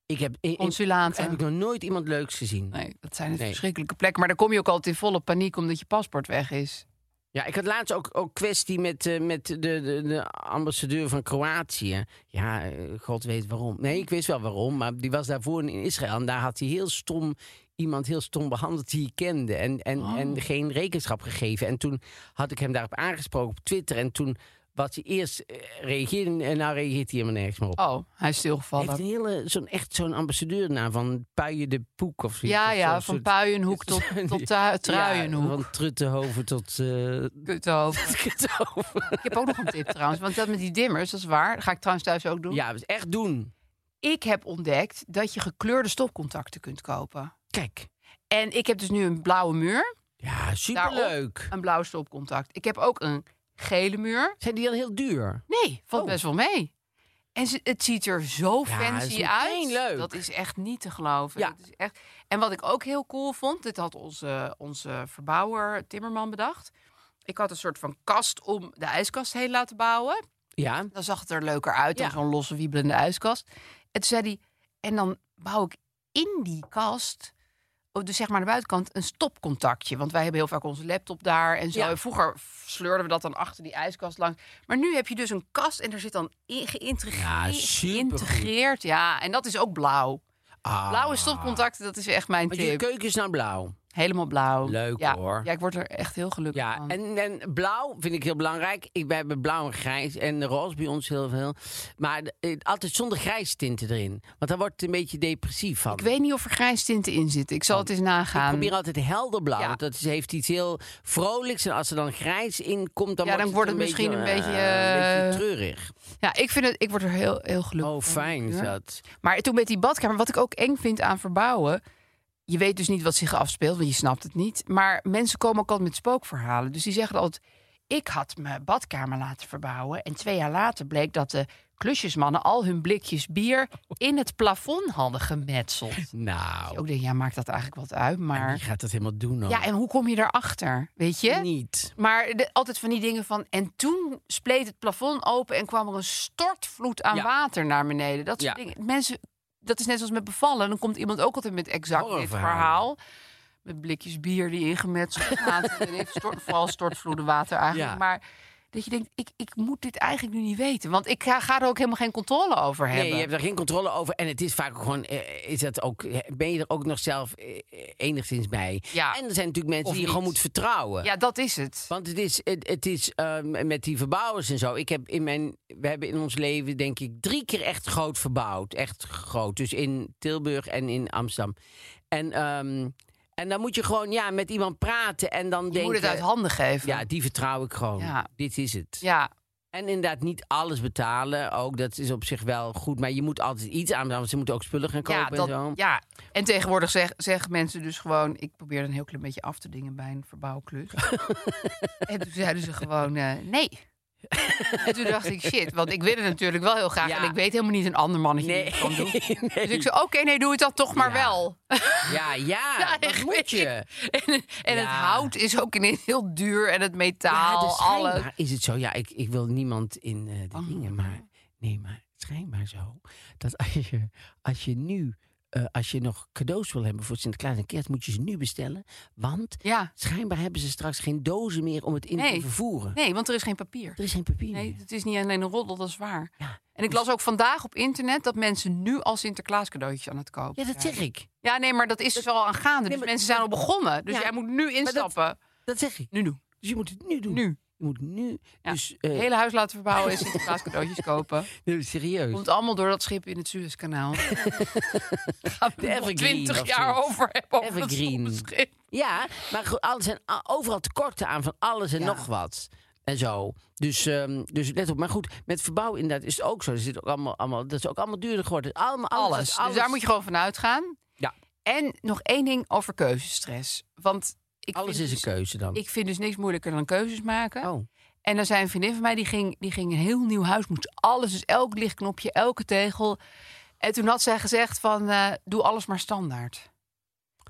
[SPEAKER 3] Ik heb, in- in-
[SPEAKER 4] Consulaten.
[SPEAKER 3] heb ik nog nooit iemand leuks gezien.
[SPEAKER 4] Nee, dat zijn dus
[SPEAKER 3] Nee.
[SPEAKER 4] verschrikkelijke plekken. Maar daar kom je ook altijd in volle paniek omdat je paspoort weg is.
[SPEAKER 3] Ja, ik had laatst ook, ook kwestie met, eh, met de, de, de ambassadeur van Kroatië. Ja, eh, god weet waarom. Nee, ik wist wel waarom, maar die was daarvoor in Israël. En daar had hij heel stom iemand heel stom behandeld die hij kende. En, en,
[SPEAKER 4] Oh.
[SPEAKER 3] en geen rekenschap gegeven. En toen had ik hem daarop aangesproken op Twitter. En toen was hij eerst eh, reageerde en nou reageert hij helemaal nergens meer op.
[SPEAKER 4] Oh, hij is
[SPEAKER 3] Hij
[SPEAKER 4] stilgevallen.
[SPEAKER 3] heeft een hele, zo'n, echt zo'n ambassadeurnaam van Puijen de Poek of zoiets.
[SPEAKER 4] Ja,
[SPEAKER 3] Of
[SPEAKER 4] ja,
[SPEAKER 3] zo'n
[SPEAKER 4] van
[SPEAKER 3] soort-
[SPEAKER 4] Puienhoek tot, tot Tru-
[SPEAKER 3] Ja,
[SPEAKER 4] Truienhoek.
[SPEAKER 3] van Truttenhoven tot... eh,
[SPEAKER 4] Kuthoofd.
[SPEAKER 3] Truttenhoven.
[SPEAKER 4] Ik heb ook nog een tip trouwens, want dat met die dimmers, dat is waar. Dat ga ik trouwens thuis ook doen.
[SPEAKER 3] Ja, dus echt doen.
[SPEAKER 4] Ik heb ontdekt dat je gekleurde stopcontacten kunt kopen.
[SPEAKER 3] Kijk.
[SPEAKER 4] En ik heb dus nu een blauwe muur,
[SPEAKER 3] Ja, superleuk.
[SPEAKER 4] een blauw stopcontact. Ik heb ook een gele muur.
[SPEAKER 3] Zijn die dan heel duur?
[SPEAKER 4] Nee, valt
[SPEAKER 3] Oh.
[SPEAKER 4] best wel mee. En ze- het ziet er zo
[SPEAKER 3] Ja, dat is
[SPEAKER 4] fancy
[SPEAKER 3] meteen
[SPEAKER 4] uit.
[SPEAKER 3] leuk.
[SPEAKER 4] Dat is echt niet te geloven.
[SPEAKER 3] Ja.
[SPEAKER 4] Dat is echt... En wat ik ook heel cool vond, dit had onze, onze verbouwer Timmerman bedacht. Ik had een soort van kast om de ijskast heen laten bouwen.
[SPEAKER 3] Ja.
[SPEAKER 4] Dan zag het er leuker uit
[SPEAKER 3] Ja.
[SPEAKER 4] dan zo'n losse wiebelende ijskast. En toen zei hij, en dan bouw ik in die kast, oh, dus zeg maar aan de buitenkant, een stopcontactje. Want wij hebben heel vaak onze laptop daar en zo.
[SPEAKER 3] Ja.
[SPEAKER 4] En vroeger sleurden we dat dan achter die ijskast langs. Maar nu heb je dus een kast en er zit dan in, geïntegreerd.
[SPEAKER 3] Ja, supergoed.
[SPEAKER 4] geïntegreerd, ja. En dat is ook blauw.
[SPEAKER 3] Ah.
[SPEAKER 4] Blauwe stopcontacten, dat is echt mijn
[SPEAKER 3] Want je
[SPEAKER 4] tip.
[SPEAKER 3] keuken is nou blauw.
[SPEAKER 4] Helemaal blauw.
[SPEAKER 3] Leuk,
[SPEAKER 4] ja.
[SPEAKER 3] hoor.
[SPEAKER 4] Ja, ik word er echt heel gelukkig
[SPEAKER 3] Ja,
[SPEAKER 4] van.
[SPEAKER 3] en, en blauw vind ik heel belangrijk. Ik, wij hebben blauw en grijs en roze bij ons heel veel. Maar eh, altijd zonder grijs tinten erin. Want daar wordt het een beetje depressief van.
[SPEAKER 4] Ik weet niet of er grijs tinten in zitten. Ik zal het eens
[SPEAKER 3] Ik
[SPEAKER 4] nagaan.
[SPEAKER 3] probeer altijd helder blauw.
[SPEAKER 4] Ja.
[SPEAKER 3] Want dat is- heeft iets heel vrolijks. En als er dan grijs in komt, dan,
[SPEAKER 4] Ja, dan wordt het misschien een beetje,
[SPEAKER 3] eh, een
[SPEAKER 4] eh,
[SPEAKER 3] beetje treurig.
[SPEAKER 4] Ja, ik vind het, ik word er heel, heel gelukkig
[SPEAKER 3] Oh,
[SPEAKER 4] van.
[SPEAKER 3] fijn is
[SPEAKER 4] Ja.
[SPEAKER 3] dat.
[SPEAKER 4] Maar toen met die badkamer, wat ik ook eng vind aan verbouwen. Je weet dus niet wat zich afspeelt, want je snapt het niet. Maar mensen komen ook altijd met spookverhalen. Dus die zeggen altijd: Ik had mijn badkamer laten verbouwen. En twee jaar later bleek dat de klusjesmannen al hun blikjes bier in het plafond hadden gemetseld.
[SPEAKER 3] Nou,
[SPEAKER 4] Ook denk, ja, maakt dat eigenlijk wat uit.
[SPEAKER 3] wie
[SPEAKER 4] Maar
[SPEAKER 3] gaat dat helemaal doen dan?
[SPEAKER 4] ja, en hoe kom je daarachter? Weet je?
[SPEAKER 3] Niet.
[SPEAKER 4] Maar de- altijd van die dingen van. En toen spleet het plafond open en kwam er een stortvloed aan
[SPEAKER 3] Ja.
[SPEAKER 4] water naar beneden. Dat soort
[SPEAKER 3] Ja.
[SPEAKER 4] dingen. Mensen, dat is net zoals met bevallen. Dan komt iemand ook altijd met exact dit
[SPEAKER 3] Horrorverhalen.
[SPEAKER 4] verhaal. Met blikjes bier die ingemetseld zaten. en even stort, vooral stortvloeden water eigenlijk.
[SPEAKER 3] Ja.
[SPEAKER 4] Maar dat je denkt, ik, ik moet dit eigenlijk nu niet weten. Want ik ga, ga er ook helemaal geen controle over hebben.
[SPEAKER 3] Nee, je hebt daar geen controle over. En het is vaak ook gewoon, eh, is dat ook, eh, ben je er ook nog zelf eh, enigszins bij?
[SPEAKER 4] Ja.
[SPEAKER 3] En er zijn natuurlijk mensen
[SPEAKER 4] Of
[SPEAKER 3] die je
[SPEAKER 4] niet.
[SPEAKER 3] gewoon moet vertrouwen.
[SPEAKER 4] Ja, dat is het.
[SPEAKER 3] Want het is, het, het is ehm, met die verbouwers en zo. Ik heb in mijn, we hebben in ons leven, denk ik, drie keer echt groot verbouwd. Echt groot. Dus in Tilburg en in Amsterdam. En, ehm, en dan moet je gewoon ja, met iemand praten en dan
[SPEAKER 4] Je
[SPEAKER 3] denken...
[SPEAKER 4] moet het uit handen geven.
[SPEAKER 3] eh, Ja, die vertrouw ik gewoon.
[SPEAKER 4] Ja.
[SPEAKER 3] Dit is het.
[SPEAKER 4] ja.
[SPEAKER 3] En inderdaad, niet alles betalen. Ook dat is op zich wel goed. Maar je moet altijd iets aanbetalen. Want ze moeten ook spullen gaan kopen
[SPEAKER 4] Ja, dat,
[SPEAKER 3] en zo.
[SPEAKER 4] ja, en tegenwoordig zeg- zeggen mensen dus gewoon... ik probeer een heel klein beetje af te dingen bij een verbouwklus. en toen zeiden ze gewoon, eh, nee, En toen dacht ik, shit, want ik wil het natuurlijk wel heel graag.
[SPEAKER 3] Ja.
[SPEAKER 4] En ik weet helemaal niet een ander mannetje
[SPEAKER 3] Nee.
[SPEAKER 4] die het kan doen. Dus ik zei, oké, nee, doe het dan toch maar wel.
[SPEAKER 3] Ja, ja, dat
[SPEAKER 4] echt,
[SPEAKER 3] moet
[SPEAKER 4] weet
[SPEAKER 3] je.
[SPEAKER 4] ik. En, en het
[SPEAKER 3] Ja.
[SPEAKER 4] hout is ook ineens heel duur. En het
[SPEAKER 3] Ja,
[SPEAKER 4] metaal,
[SPEAKER 3] dus
[SPEAKER 4] alles. Oh.
[SPEAKER 3] schijnbaar is het zo. Ja, ik, ik wil niemand in eh de dingen, maar nee, maar schijnbaar zo. Dat als je, als je nu, eh, als je nog cadeaus wil hebben voor Sinterklaas en Kerst, moet je ze nu bestellen. Want
[SPEAKER 4] Ja.
[SPEAKER 3] schijnbaar hebben ze straks geen dozen meer om het in te
[SPEAKER 4] Nee.
[SPEAKER 3] vervoeren.
[SPEAKER 4] Nee, want er is geen papier.
[SPEAKER 3] Er is geen papier
[SPEAKER 4] Nee,
[SPEAKER 3] meer.
[SPEAKER 4] het is niet alleen een roddel, dat is waar.
[SPEAKER 3] Ja.
[SPEAKER 4] En ik las ook vandaag op internet dat mensen nu al Sinterklaas cadeautjes aan het kopen
[SPEAKER 3] Ja, dat
[SPEAKER 4] zijn.
[SPEAKER 3] zeg ik.
[SPEAKER 4] Ja, nee, maar dat is dus al aan gaande. Dus
[SPEAKER 3] maar-
[SPEAKER 4] mensen zijn al begonnen. Dus
[SPEAKER 3] Ja,
[SPEAKER 4] jij moet nu
[SPEAKER 3] dat-
[SPEAKER 4] instappen.
[SPEAKER 3] Dat zeg ik.
[SPEAKER 4] Nu doen.
[SPEAKER 3] Dus je moet het nu doen.
[SPEAKER 4] Nu.
[SPEAKER 3] Je moet nu.
[SPEAKER 4] Ja.
[SPEAKER 3] Dus, eh,
[SPEAKER 4] Het hele huis laten verbouwen en Sinterklaas cadeautjes kopen.
[SPEAKER 3] nee, serieus.
[SPEAKER 4] Komt allemaal door dat schip in het Suezkanaal. Gaan we
[SPEAKER 3] De
[SPEAKER 4] er nog
[SPEAKER 3] evergreen
[SPEAKER 4] twintig
[SPEAKER 3] of
[SPEAKER 4] jaar
[SPEAKER 3] zoiets.
[SPEAKER 4] over hebben over dat
[SPEAKER 3] Evergreen.
[SPEAKER 4] schip.
[SPEAKER 3] Ja, maar goed, alles en, a- overal tekorten aan van alles en
[SPEAKER 4] Ja.
[SPEAKER 3] nog wat. En zo. Dus, ehm, dus let op. Maar goed, met verbouw inderdaad is het ook zo. Er zit ook allemaal, allemaal, dat is ook allemaal duurder geworden. Allemaal, alles,
[SPEAKER 4] Alles. Dus daar moet je gewoon van uitgaan.
[SPEAKER 3] Ja.
[SPEAKER 4] En nog één ding over keuzestress. Want ik
[SPEAKER 3] alles
[SPEAKER 4] vind
[SPEAKER 3] is een
[SPEAKER 4] dus-
[SPEAKER 3] keuze dan.
[SPEAKER 4] Ik vind dus niks moeilijker dan keuzes maken.
[SPEAKER 3] Oh.
[SPEAKER 4] En er zijn een vriendin van mij, die ging, die ging een heel nieuw huis. Moest alles, dus elk lichtknopje, elke tegel. En toen had zij gezegd van, eh, doe alles maar standaard.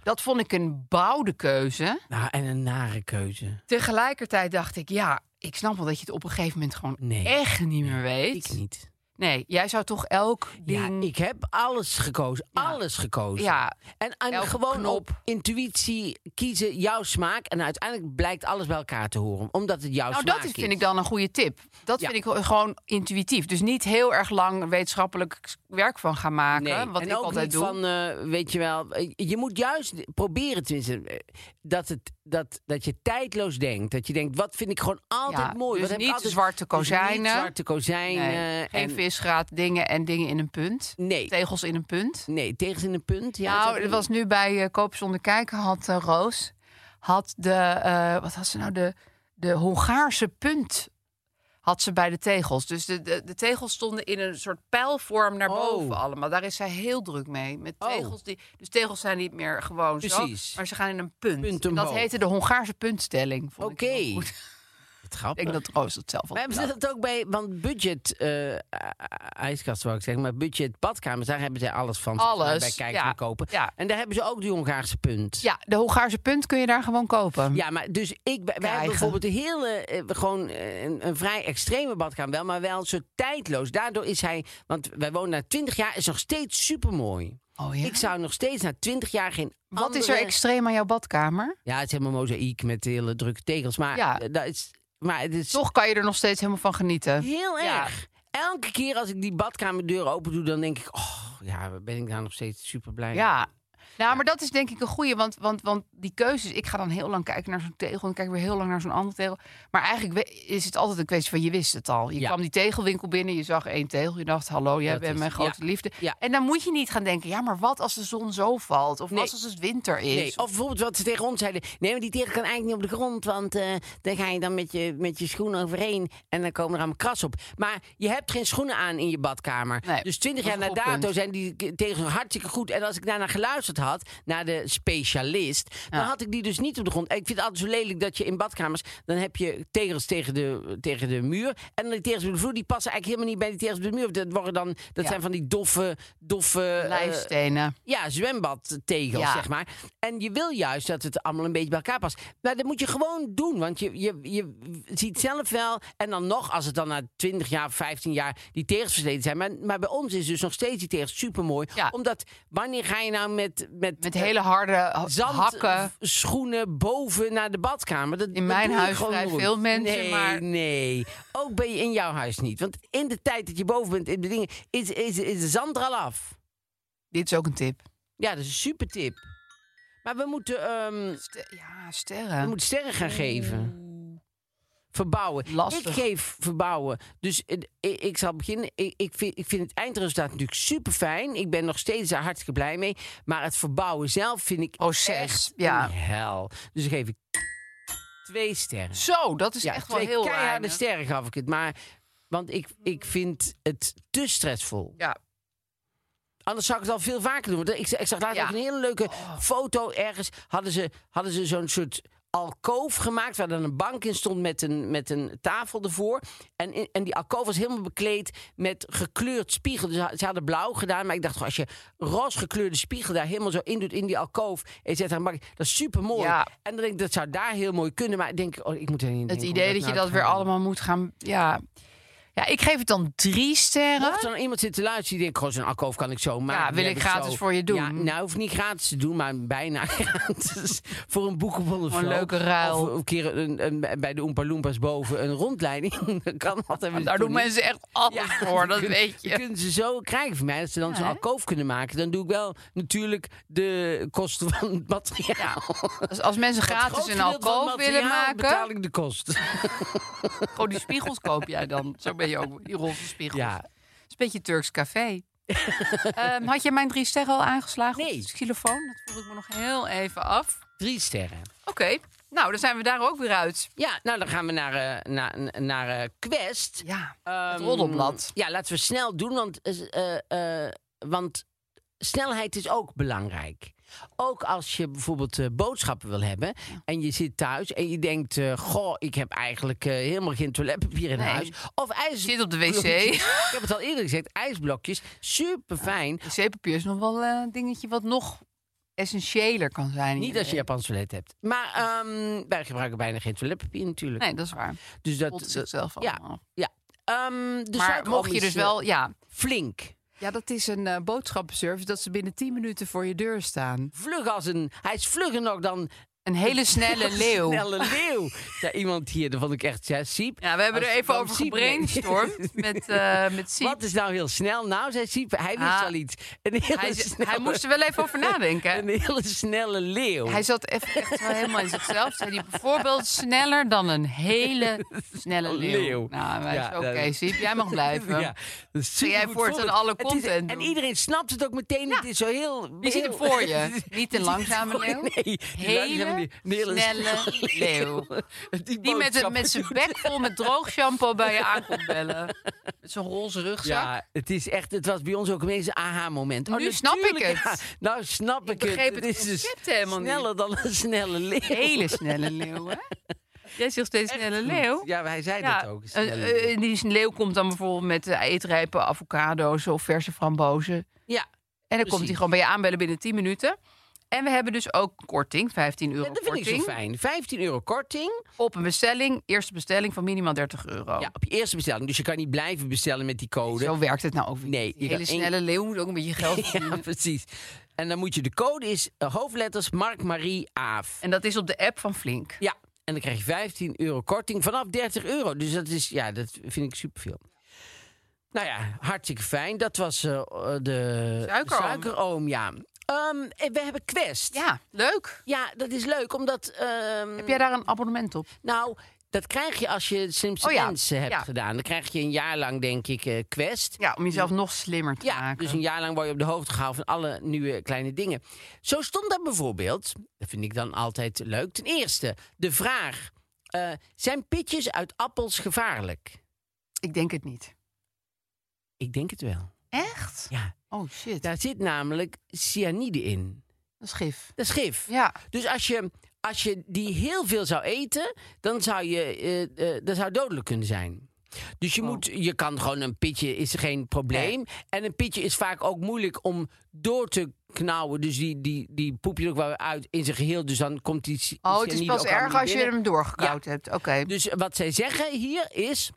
[SPEAKER 4] Dat vond ik een bouwde keuze.
[SPEAKER 3] Nou, en een nare keuze.
[SPEAKER 4] Tegelijkertijd dacht ik, ja, ik snap wel dat je het op een gegeven moment gewoon
[SPEAKER 3] Nee.
[SPEAKER 4] echt niet meer weet.
[SPEAKER 3] Ik niet.
[SPEAKER 4] Nee, jij zou toch elk
[SPEAKER 3] Ja,
[SPEAKER 4] ding...
[SPEAKER 3] ik heb alles gekozen. Alles gekozen.
[SPEAKER 4] Ja,
[SPEAKER 3] En, en
[SPEAKER 4] elke
[SPEAKER 3] gewoon
[SPEAKER 4] knop.
[SPEAKER 3] op intuïtie kiezen, jouw smaak. En uiteindelijk blijkt alles bij elkaar te horen. Omdat het jouw
[SPEAKER 4] Nou,
[SPEAKER 3] smaak
[SPEAKER 4] dat
[SPEAKER 3] is.
[SPEAKER 4] vind ik dan een goede tip. Dat
[SPEAKER 3] Ja.
[SPEAKER 4] vind ik gewoon intuïtief. Dus niet heel erg lang wetenschappelijk werk van gaan maken. wat
[SPEAKER 3] en
[SPEAKER 4] ik
[SPEAKER 3] ook
[SPEAKER 4] altijd
[SPEAKER 3] niet
[SPEAKER 4] doe.
[SPEAKER 3] van, eh, weet je wel, eh, je moet juist proberen tenminste, eh, dat, het, dat, dat je tijdloos denkt. Dat je denkt, wat vind ik gewoon altijd
[SPEAKER 4] Ja,
[SPEAKER 3] mooi.
[SPEAKER 4] dus
[SPEAKER 3] wat heb ik
[SPEAKER 4] niet
[SPEAKER 3] altijd,
[SPEAKER 4] zwarte
[SPEAKER 3] dus niet
[SPEAKER 4] kozijnen.
[SPEAKER 3] zwarte kozijnen.
[SPEAKER 4] Nee, geen
[SPEAKER 3] eh, en,
[SPEAKER 4] visgraat, dingen en dingen in een punt.
[SPEAKER 3] Nee,
[SPEAKER 4] Tegels in een punt.
[SPEAKER 3] nee, tegen in een punt. Ja,
[SPEAKER 4] nou,
[SPEAKER 3] zo-
[SPEAKER 4] het was nu bij eh, Koop zonder kijken had eh, Roos had de eh, wat had ze nou de de Hongaarse punt had ze bij de tegels. Dus de, de, de tegels stonden in een soort pijlvorm naar
[SPEAKER 3] Oh.
[SPEAKER 4] boven allemaal. Daar is zij heel druk mee. Met
[SPEAKER 3] Oh.
[SPEAKER 4] tegels die, dus tegels zijn niet meer gewoon
[SPEAKER 3] Precies.
[SPEAKER 4] zo, maar ze gaan in een punt.
[SPEAKER 3] Punt
[SPEAKER 4] En dat
[SPEAKER 3] omhoog.
[SPEAKER 4] heette de Hongaarse puntstelling. Vond ik
[SPEAKER 3] Oké.
[SPEAKER 4] heel goed.
[SPEAKER 3] Wat
[SPEAKER 4] Ik denk
[SPEAKER 3] grappig.
[SPEAKER 4] dat Roos dat zelf had
[SPEAKER 3] Maar hebben ze
[SPEAKER 4] bedacht.
[SPEAKER 3] dat ook bij, want budget, eh, i- ijskast wou ik zeggen, maar budget badkamers, daar hebben ze alles van. volgens mij,
[SPEAKER 4] Alles,
[SPEAKER 3] Bij kijken
[SPEAKER 4] ja,
[SPEAKER 3] en kopen.
[SPEAKER 4] ja.
[SPEAKER 3] En daar hebben ze ook die Hongaarse punt.
[SPEAKER 4] Ja, de Hongaarse punt kun je daar gewoon kopen.
[SPEAKER 3] Ja, maar dus ik, wij hebben
[SPEAKER 4] Krijgen.
[SPEAKER 3] bijvoorbeeld een hele, eh, gewoon eh, een, een vrij extreme badkamer wel, maar wel een soort tijdloos. Daardoor is hij, want wij wonen na 20 jaar, is nog steeds supermooi.
[SPEAKER 4] Oh ja?
[SPEAKER 3] Ik zou nog steeds na 20 jaar geen
[SPEAKER 4] Wat is er
[SPEAKER 3] andere-
[SPEAKER 4] extreem aan jouw badkamer?
[SPEAKER 3] Ja, het is helemaal mozaïek met hele drukke tegels, maar,
[SPEAKER 4] Ja.
[SPEAKER 3] eh, dat is, maar het is
[SPEAKER 4] Toch kan je er nog steeds helemaal van genieten.
[SPEAKER 3] heel
[SPEAKER 4] Ja.
[SPEAKER 3] erg. Elke keer als ik die badkamerdeur open doe, dan denk ik, oh ja, ben ik daar nog steeds super blij
[SPEAKER 4] Ja. Nou, maar dat is denk ik een goeie, want, want, want die keuzes... Ik ga dan heel lang kijken naar zo'n tegel en kijk weer heel lang naar zo'n andere tegel. Maar eigenlijk we- is het altijd een kwestie van je wist het al. Je
[SPEAKER 3] Ja.
[SPEAKER 4] kwam die tegelwinkel binnen, je zag één tegel. Je dacht, hallo, jij
[SPEAKER 3] Dat
[SPEAKER 4] bent
[SPEAKER 3] is-
[SPEAKER 4] mijn grote
[SPEAKER 3] ja.
[SPEAKER 4] liefde.
[SPEAKER 3] Ja.
[SPEAKER 4] En dan moet je niet gaan denken, ja, maar wat als de zon zo valt? Of
[SPEAKER 3] Nee.
[SPEAKER 4] wat als het winter is?
[SPEAKER 3] Nee, of bijvoorbeeld wat ze tegen ons zeiden. Nee, maar die tegen kan eigenlijk niet op de grond. Want eh dan ga je dan met je, met je schoenen overheen. En dan komen er allemaal kras op. Maar je hebt geen schoenen aan in je badkamer.
[SPEAKER 4] Nee,
[SPEAKER 3] dus twintig
[SPEAKER 4] dat
[SPEAKER 3] jaar
[SPEAKER 4] is een
[SPEAKER 3] na
[SPEAKER 4] goed
[SPEAKER 3] dato
[SPEAKER 4] punt.
[SPEAKER 3] zijn die k- tegen hartstikke goed. En als ik daarna geluisterd had, naar de specialist. Dan
[SPEAKER 4] Ja.
[SPEAKER 3] had ik die dus niet op de grond. En ik vind het altijd zo lelijk dat je in badkamers. Dan heb je tegels tegen de, tegen de muur. En dan die tegels op de vloer. Die passen eigenlijk helemaal niet bij die tegels op de muur. Dat, worden dan, dat
[SPEAKER 4] Ja.
[SPEAKER 3] zijn van die doffe, doffe eh,
[SPEAKER 4] Lijfstenen.
[SPEAKER 3] ja, zwembadtegels,
[SPEAKER 4] Ja.
[SPEAKER 3] zeg maar. En je wil juist dat het allemaal een beetje bij elkaar past. Maar dat moet je gewoon doen, want je, je, je ziet zelf wel... en dan nog, als het dan na 20 jaar, 15 jaar die tegels versleten zijn... maar, maar bij ons is dus nog steeds die tegels supermooi.
[SPEAKER 4] Ja.
[SPEAKER 3] Omdat, wanneer ga je nou met... Met,
[SPEAKER 4] Met
[SPEAKER 3] eh,
[SPEAKER 4] hele harde ha-
[SPEAKER 3] Zand,
[SPEAKER 4] hakken.
[SPEAKER 3] v- schoenen boven naar de badkamer. Dat, dat
[SPEAKER 4] mijn
[SPEAKER 3] doe je
[SPEAKER 4] huis
[SPEAKER 3] gewoon
[SPEAKER 4] vrij
[SPEAKER 3] nooit.
[SPEAKER 4] veel mensen,
[SPEAKER 3] nee,
[SPEAKER 4] maar-
[SPEAKER 3] Nee, ook ben je in jouw huis niet. Want in de tijd dat je boven bent in de dingen, is, is, is de zand er al af.
[SPEAKER 4] Dit is ook een tip.
[SPEAKER 3] Ja, dat is een super tip. Maar we moeten, ehm,
[SPEAKER 4] Ste- ja,
[SPEAKER 3] we
[SPEAKER 4] sterren.
[SPEAKER 3] moeten sterren gaan geven. Verbouwen.
[SPEAKER 4] Lastig.
[SPEAKER 3] Ik geef verbouwen. Dus eh, ik, ik zal beginnen. Ik, ik, vind, ik vind het eindresultaat natuurlijk super fijn. Ik ben nog steeds daar hartstikke blij mee. Maar het verbouwen zelf vind ik
[SPEAKER 4] Proces,
[SPEAKER 3] echt
[SPEAKER 4] Oh, ja.
[SPEAKER 3] een hel. Dus dan geef ik twee sterren.
[SPEAKER 4] Zo, dat is
[SPEAKER 3] Ja,
[SPEAKER 4] echt wel
[SPEAKER 3] twee
[SPEAKER 4] heel
[SPEAKER 3] keiharde
[SPEAKER 4] weinig.
[SPEAKER 3] sterren gaf ik het. Maar, want ik, ik vind het te stressvol.
[SPEAKER 4] Ja,
[SPEAKER 3] Anders zou ik het al veel vaker doen. Want ik, ik zag laatst
[SPEAKER 4] Ja. Oh.
[SPEAKER 3] ook een hele leuke foto ergens. Hadden ze, hadden ze zo'n soort alkoof gemaakt waar dan een bank in stond met een, met een tafel ervoor. En, in- en die alkoof was helemaal bekleed met gekleurd spiegel. Dus ze hadden blauw gedaan, maar ik dacht, goh, als je roze gekleurde spiegel daar helemaal zo in doet in die alkoof en je zet daar een bank, dat is super mooi.
[SPEAKER 4] Ja.
[SPEAKER 3] En dan denk ik, dat zou daar heel mooi kunnen, maar ik denk, oh, ik moet er niet
[SPEAKER 4] Het idee
[SPEAKER 3] nou
[SPEAKER 4] dat je dat weer allemaal moet gaan... Ja. ja, ik geef het dan drie sterren.
[SPEAKER 3] Mocht er dan iemand zit te luisteren die denkt, goh, zo'n alkoof kan ik zo maken.
[SPEAKER 4] wil
[SPEAKER 3] Die
[SPEAKER 4] ik
[SPEAKER 3] heb
[SPEAKER 4] gratis
[SPEAKER 3] zo.
[SPEAKER 4] voor je doen.
[SPEAKER 3] Ja, nou, hoeft niet gratis te doen, maar bijna gratis. voor een boekenbon of
[SPEAKER 4] Voor een
[SPEAKER 3] zo.
[SPEAKER 4] leuke ruil.
[SPEAKER 3] Of een keer een, een- bij de Oompa Loompas boven een rondleiding. Dat kan altijd.
[SPEAKER 4] Want daar doen mensen echt alles voor, dat weet je.
[SPEAKER 3] Kunnen ze zo krijgen van mij, dat ze dan zo'n
[SPEAKER 4] hè?
[SPEAKER 3] alkoof kunnen maken. Dan doe ik wel natuurlijk de kosten van het materiaal.
[SPEAKER 4] Dus als mensen
[SPEAKER 3] Het
[SPEAKER 4] gratis
[SPEAKER 3] grootste
[SPEAKER 4] een
[SPEAKER 3] gedeelte van
[SPEAKER 4] alkoof
[SPEAKER 3] het
[SPEAKER 4] willen
[SPEAKER 3] materiaal betaal
[SPEAKER 4] maken...
[SPEAKER 3] ik de kosten.
[SPEAKER 4] Gewoon die spiegels koop jij dan. Zo ben je ook, die roze spiegels.
[SPEAKER 3] Ja.
[SPEAKER 4] Het is een beetje Turks café. Ehm, had je mijn drie sterren al aangeslagen
[SPEAKER 3] Nee.
[SPEAKER 4] op de xylofoon? Dat vroeg ik me nog heel even af.
[SPEAKER 3] Drie sterren.
[SPEAKER 4] Oké, nou, dan zijn we daar ook weer uit.
[SPEAKER 3] Ja, nou dan gaan we naar, eh, naar, naar eh, Quest.
[SPEAKER 4] Ja, het
[SPEAKER 3] Ehm,
[SPEAKER 4] roddelblad.
[SPEAKER 3] Ja, laten we snel doen, want, eh, eh, eh, want snelheid is ook belangrijk. Ook als je bijvoorbeeld eh, boodschappen wil hebben en je zit thuis en je denkt: eh, Goh, ik heb eigenlijk eh, helemaal geen toiletpapier in
[SPEAKER 4] Nee.
[SPEAKER 3] huis. Of ijs.
[SPEAKER 4] Zit op de wc.
[SPEAKER 3] Ik heb het al eerder gezegd: ijsblokjes, super fijn.
[SPEAKER 4] Wc-papier is nog wel eh, een dingetje wat nog essentiëler kan zijn. in
[SPEAKER 3] Niet als je
[SPEAKER 4] leven.
[SPEAKER 3] Japans toilet hebt. Maar ehm, wij gebruiken bijna geen toiletpapier natuurlijk.
[SPEAKER 4] Nee, dat is waar.
[SPEAKER 3] dus dat.
[SPEAKER 4] Pot
[SPEAKER 3] dat-
[SPEAKER 4] zichzelf
[SPEAKER 3] ja.
[SPEAKER 4] allemaal.
[SPEAKER 3] ja. Ehm, de
[SPEAKER 4] maar
[SPEAKER 3] suikerom
[SPEAKER 4] mocht je
[SPEAKER 3] is,
[SPEAKER 4] dus
[SPEAKER 3] eh,
[SPEAKER 4] wel... Ja,
[SPEAKER 3] Flink.
[SPEAKER 4] ja dat is een eh, boodschappenservice dat ze binnen 10 minuten voor je deur staan.
[SPEAKER 3] Vlug als een. Hij is vlugger nog dan
[SPEAKER 4] Een hele snelle leeuw.
[SPEAKER 3] Snelle leeuw. Ja, iemand hier, dat vond ik echt ja, Siep.
[SPEAKER 4] Ja, we hebben
[SPEAKER 3] Als-
[SPEAKER 4] er even
[SPEAKER 3] dan
[SPEAKER 4] over
[SPEAKER 3] Siep-
[SPEAKER 4] gebrainstormd met, eh met Siep.
[SPEAKER 3] Wat is nou heel snel? Nou, zei Siep, hij wist
[SPEAKER 4] Ah.
[SPEAKER 3] al iets. Een hele
[SPEAKER 4] Hij, z-
[SPEAKER 3] snelle,
[SPEAKER 4] hij moest er wel even over nadenken.
[SPEAKER 3] Een hele snelle leeuw.
[SPEAKER 4] Hij zat even echt wel helemaal in zichzelf. Zei hij bijvoorbeeld sneller dan een hele snelle leeuw.
[SPEAKER 3] Leeuw.
[SPEAKER 4] Nou, wij
[SPEAKER 3] Ja,
[SPEAKER 4] oké,
[SPEAKER 3] dat-
[SPEAKER 4] Siep, jij mag blijven.
[SPEAKER 3] Ja, dat is
[SPEAKER 4] Kun jij
[SPEAKER 3] supergoed
[SPEAKER 4] voortaan
[SPEAKER 3] voorbeeld.
[SPEAKER 4] alle
[SPEAKER 3] Het is-
[SPEAKER 4] content
[SPEAKER 3] En
[SPEAKER 4] doen?
[SPEAKER 3] iedereen snapt het ook meteen. Het is zo heel...
[SPEAKER 4] Je ziet hem
[SPEAKER 3] heel-
[SPEAKER 4] voor je. Niet een langzame
[SPEAKER 3] Nee,
[SPEAKER 4] leeuw.
[SPEAKER 3] die langzame
[SPEAKER 4] Hele
[SPEAKER 3] leeuw. Een hele
[SPEAKER 4] snelle leeuw. Die met, het- met zijn bek vol met droog shampoo bij je aankomt bellen. Met zo'n roze rugzak.
[SPEAKER 3] Ja, het is echt, het was bij ons ook ineens een aha-moment. Oh,
[SPEAKER 4] Nu snap ik
[SPEAKER 3] natuurlijk,
[SPEAKER 4] het.
[SPEAKER 3] ja. nou snap ik,
[SPEAKER 4] begreep het
[SPEAKER 3] Het is dus
[SPEAKER 4] concept helemaal niet.
[SPEAKER 3] sneller dan een snelle leeuw.
[SPEAKER 4] Hele snelle leeuw, hè? Jij zegt steeds snelle leeuw.
[SPEAKER 3] Ja, hij zei
[SPEAKER 4] Ja,
[SPEAKER 3] dat ook. een
[SPEAKER 4] eh,
[SPEAKER 3] snelle
[SPEAKER 4] eh,
[SPEAKER 3] leeuw.
[SPEAKER 4] die leeuw komt dan bijvoorbeeld met eh, eetrijpe avocado's of verse frambozen. En
[SPEAKER 3] ja,
[SPEAKER 4] dan komt
[SPEAKER 3] Precies.
[SPEAKER 4] hij gewoon bij je aanbellen binnen 10 minuten. En we hebben dus ook korting, 15 euro
[SPEAKER 3] Ja, dat vind ik
[SPEAKER 4] korting.
[SPEAKER 3] zo fijn. 15 euro korting
[SPEAKER 4] Op een bestelling, eerste bestelling van minimaal 30 euro.
[SPEAKER 3] ja, op je eerste bestelling. Dus je kan niet blijven bestellen met die code.
[SPEAKER 4] Zo werkt het nou ook weer.
[SPEAKER 3] Nee,
[SPEAKER 4] niet. Die
[SPEAKER 3] je
[SPEAKER 4] hele
[SPEAKER 3] kan één-
[SPEAKER 4] snelle leeuw moet ook een beetje geld verdienen.
[SPEAKER 3] ja, precies. En dan moet je, de code is eh, hoofdletters Mark Marie Aaf.
[SPEAKER 4] En dat is op de app van Flink.
[SPEAKER 3] Ja, en dan krijg je 15 euro korting vanaf 30 euro. Dus dat is, ja, dat vind ik superveel. Nou ja, hartstikke fijn. Dat was eh, eh, de
[SPEAKER 4] Suikeroom.
[SPEAKER 3] suikeroom, ja. Ehm, eh, we hebben Quest.
[SPEAKER 4] Ja, leuk.
[SPEAKER 3] Ja, dat is leuk, omdat... ehm,
[SPEAKER 4] Heb jij daar een abonnement op?
[SPEAKER 3] Nou, dat krijg je als je het slimste
[SPEAKER 4] Oh ja,
[SPEAKER 3] mensen hebt
[SPEAKER 4] ja.
[SPEAKER 3] gedaan. Dan krijg je een jaar lang, denk ik, eh, Quest.
[SPEAKER 4] Ja, om jezelf nog slimmer te
[SPEAKER 3] Ja,
[SPEAKER 4] maken.
[SPEAKER 3] dus een jaar lang word je op de hoogte gehouden van alle nieuwe kleine dingen. Zo stond daar bijvoorbeeld, dat vind ik dan altijd leuk, ten eerste de vraag... eh, zijn pitjes uit appels gevaarlijk?
[SPEAKER 4] Ik denk het niet.
[SPEAKER 3] Ik denk het wel.
[SPEAKER 4] Echt?
[SPEAKER 3] Ja,
[SPEAKER 4] Oh shit, dat
[SPEAKER 3] daar zit namelijk cyanide in.
[SPEAKER 4] is gif.
[SPEAKER 3] Dat is gif.
[SPEAKER 4] Ja.
[SPEAKER 3] Dus als je, als je die heel veel zou eten, dan zou je eh, eh, dat zou dodelijk kunnen zijn. Dus
[SPEAKER 4] Oh.
[SPEAKER 3] je, moet, je kan gewoon een pitje, is geen probleem. En een pitje is vaak ook moeilijk om door te knauwen. Dus die, die, die poep je er ook wel uit in zijn geheel. Dus dan komt die ci-
[SPEAKER 4] Oh, het is
[SPEAKER 3] cyanide
[SPEAKER 4] pas
[SPEAKER 3] ook allemaal
[SPEAKER 4] erg
[SPEAKER 3] niet
[SPEAKER 4] als je
[SPEAKER 3] binnen.
[SPEAKER 4] hem doorgekauwd hebt. Oké.
[SPEAKER 3] Dus wat zij zeggen hier is...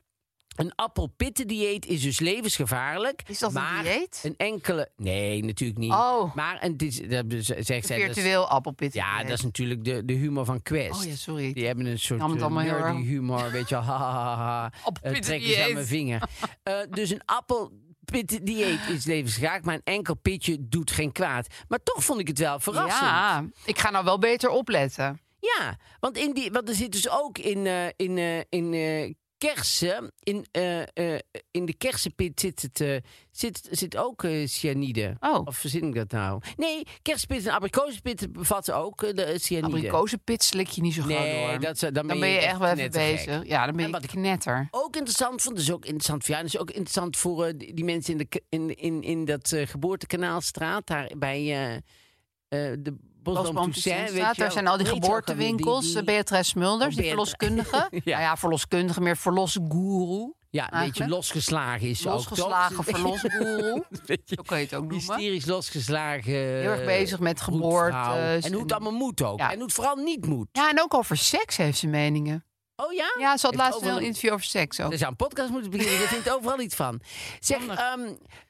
[SPEAKER 3] Een appelpittendieet is dus levensgevaarlijk.
[SPEAKER 4] Is dat een
[SPEAKER 3] maar
[SPEAKER 4] dieet?
[SPEAKER 3] Een enkele... Nee, natuurlijk niet.
[SPEAKER 4] Oh.
[SPEAKER 3] Maar een, dit, is- dat zegt zij...
[SPEAKER 4] Een
[SPEAKER 3] dat is-
[SPEAKER 4] virtueel appelpit.
[SPEAKER 3] ja, dat is natuurlijk de, de humor van Quest.
[SPEAKER 4] Oh ja, sorry.
[SPEAKER 3] Die hebben een soort
[SPEAKER 4] nam het
[SPEAKER 3] eh,
[SPEAKER 4] allemaal heel
[SPEAKER 3] nerdy
[SPEAKER 4] erg.
[SPEAKER 3] humor, weet je wel. Ha, ha, ha, ha. Eh,
[SPEAKER 4] Appelpitten
[SPEAKER 3] trek eens aan
[SPEAKER 4] dieet.
[SPEAKER 3] mijn vinger. Eh, dus een appelpitten dieet is levensgevaarlijk, maar een enkel pitje doet geen kwaad. Maar toch vond ik het wel verrassend.
[SPEAKER 4] Ja, ik ga nou wel beter opletten.
[SPEAKER 3] Ja, want, in die, want er zit dus ook in, eh, in, eh, in eh, kersen, in, eh, eh, in de kersenpit zit, het, eh, zit, zit ook eh, cyanide.
[SPEAKER 4] Oh.
[SPEAKER 3] Of verzin ik dat nou? Nee, kersenpit en abrikozenpit bevatten ook eh, de cyanide.
[SPEAKER 4] Abrikozenpit slik je niet zo gauw
[SPEAKER 3] Nee,
[SPEAKER 4] door.
[SPEAKER 3] dat zou- dan ben
[SPEAKER 4] dan, ben
[SPEAKER 3] je
[SPEAKER 4] je echt wel even
[SPEAKER 3] knettergek.
[SPEAKER 4] bezig. Ja, dan ben
[SPEAKER 3] En
[SPEAKER 4] je
[SPEAKER 3] wat ik-
[SPEAKER 4] knetter.
[SPEAKER 3] ook interessant vond, dus ook interessant voor jou, dus ook interessant voor eh, die die mensen in, de, k- in, in, in dat eh, geboortekanaalstraat, daar bij eh, eh, de Bosboom Toussaint. weet je
[SPEAKER 4] Daar
[SPEAKER 3] wel.
[SPEAKER 4] zijn al die
[SPEAKER 3] Hoe heet ze ook alweer?
[SPEAKER 4] geboortewinkels. eh,
[SPEAKER 3] Die- die-
[SPEAKER 4] Beatrice Smulders, die
[SPEAKER 3] Beatrice.
[SPEAKER 4] verloskundige.
[SPEAKER 3] Ja.
[SPEAKER 4] Nou ja, verloskundige, meer verlosgoeroe.
[SPEAKER 3] Ja, een beetje
[SPEAKER 4] eigenlijk.
[SPEAKER 3] losgeslagen is ze ook, toch?
[SPEAKER 4] Losgeslagen verlosgoeroe.
[SPEAKER 3] Beetje
[SPEAKER 4] Zo kan je het ook noemen.
[SPEAKER 3] Hysterisch losgeslagen. Heel
[SPEAKER 4] erg bezig met geboortes
[SPEAKER 3] En hoe het
[SPEAKER 4] en-
[SPEAKER 3] allemaal moet ook.
[SPEAKER 4] Ja.
[SPEAKER 3] En hoe het vooral niet moet.
[SPEAKER 4] Ja, en ook over seks heeft ze meningen.
[SPEAKER 3] Oh ja?
[SPEAKER 4] Ja, ze had
[SPEAKER 3] Heeft
[SPEAKER 4] laatst
[SPEAKER 3] overal-
[SPEAKER 4] wel Dus- een interview over seks ook.
[SPEAKER 3] Er zou een podcast moeten beginnen. Daar vindt overal iets van. Zeg, ehm,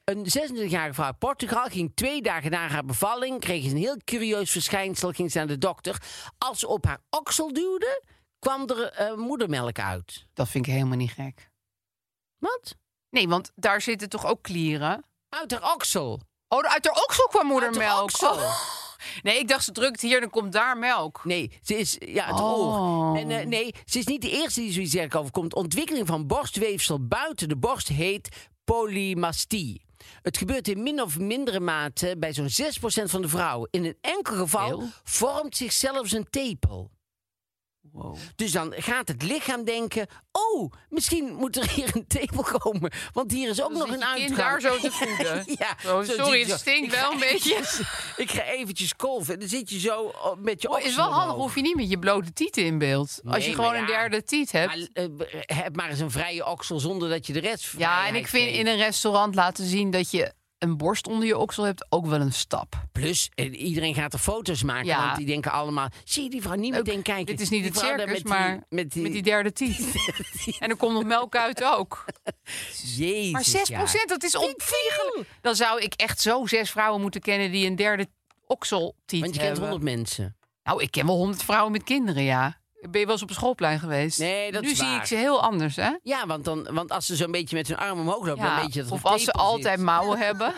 [SPEAKER 3] een 26-jarige vrouw uit Portugal ging twee dagen na haar bevalling... kreeg ze een heel curieus verschijnsel, ging ze naar de dokter. Als ze op haar oksel duwde, kwam er eh, moedermelk uit.
[SPEAKER 4] Dat vind ik helemaal niet gek.
[SPEAKER 3] Wat?
[SPEAKER 4] Nee, want daar zitten toch ook klieren?
[SPEAKER 3] Uit haar oksel.
[SPEAKER 4] Oh, uit haar oksel kwam
[SPEAKER 3] Uit haar
[SPEAKER 4] moedermelk.
[SPEAKER 3] oksel.
[SPEAKER 4] Oh. Nee, ik dacht ze drukt hier en dan komt daar melk.
[SPEAKER 3] Nee, ze is... Ja, het
[SPEAKER 4] Oh.
[SPEAKER 3] oor. En, eh, nee, ze is niet de eerste die zoiets erg overkomt. Ontwikkeling van borstweefsel buiten de borst heet polymastie. Het gebeurt in min of mindere mate bij zo'n 6% van de vrouwen. In een enkel geval
[SPEAKER 4] Veel.
[SPEAKER 3] vormt zich zelfs een tepel.
[SPEAKER 4] Wow.
[SPEAKER 3] Dus dan gaat het lichaam denken... oh, misschien moet er hier een tepel komen. Want hier is ook
[SPEAKER 4] Dan
[SPEAKER 3] nog
[SPEAKER 4] zit
[SPEAKER 3] een
[SPEAKER 4] je Dus kind
[SPEAKER 3] uitgang.
[SPEAKER 4] daar zo te voeden.
[SPEAKER 3] ja,
[SPEAKER 4] Zo, sorry,
[SPEAKER 3] zit je
[SPEAKER 4] het
[SPEAKER 3] zo.
[SPEAKER 4] stinkt
[SPEAKER 3] Ik
[SPEAKER 4] wel
[SPEAKER 3] ga
[SPEAKER 4] een beetje.
[SPEAKER 3] eventjes- ik ga eventjes kolven. En dan zit je zo oh, met je
[SPEAKER 4] Oh, is wel handig,
[SPEAKER 3] of
[SPEAKER 4] hoef je niet met je blote tieten in beeld. Als je
[SPEAKER 3] Nee,
[SPEAKER 4] gewoon
[SPEAKER 3] maar
[SPEAKER 4] een
[SPEAKER 3] ja.
[SPEAKER 4] derde tiet hebt.
[SPEAKER 3] Maar, eh, heb maar eens een vrije oksel zonder dat je de rest
[SPEAKER 4] Ja,
[SPEAKER 3] vrijheid
[SPEAKER 4] en ik vind
[SPEAKER 3] geeft.
[SPEAKER 4] in een restaurant laten zien dat je een borst onder je oksel hebt ook wel een stap.
[SPEAKER 3] Plus, eh, iedereen gaat er foto's maken.
[SPEAKER 4] Ja.
[SPEAKER 3] Want die denken allemaal... Zie je die vrouw niet
[SPEAKER 4] Ook,
[SPEAKER 3] meteen kijken?
[SPEAKER 4] Dit is niet
[SPEAKER 3] Die
[SPEAKER 4] het
[SPEAKER 3] vrouw daar
[SPEAKER 4] circus,
[SPEAKER 3] met die-
[SPEAKER 4] maar
[SPEAKER 3] met die,
[SPEAKER 4] derde tiet. en er komt nog melk uit ook.
[SPEAKER 3] Jezus,
[SPEAKER 4] Maar 6%,
[SPEAKER 3] ja.
[SPEAKER 4] dat is ontiegelijk. Dan zou ik echt zo zes vrouwen moeten kennen die een derde okseltiet
[SPEAKER 3] Want je kent
[SPEAKER 4] hebben.
[SPEAKER 3] 100 mensen.
[SPEAKER 4] Nou, ik ken wel honderd vrouwen met kinderen, ja. Ben je wel eens op een schoolplein geweest?
[SPEAKER 3] Nee, dat
[SPEAKER 4] nu
[SPEAKER 3] is
[SPEAKER 4] zie
[SPEAKER 3] waar.
[SPEAKER 4] ik ze heel anders, hè?
[SPEAKER 3] Ja, want, dan, want als ze zo'n beetje met hun arm omhoog lopen...
[SPEAKER 4] Ja,
[SPEAKER 3] dan weet je dat er
[SPEAKER 4] of
[SPEAKER 3] een
[SPEAKER 4] als ze
[SPEAKER 3] tepel
[SPEAKER 4] altijd
[SPEAKER 3] zit.
[SPEAKER 4] mouwen hebben.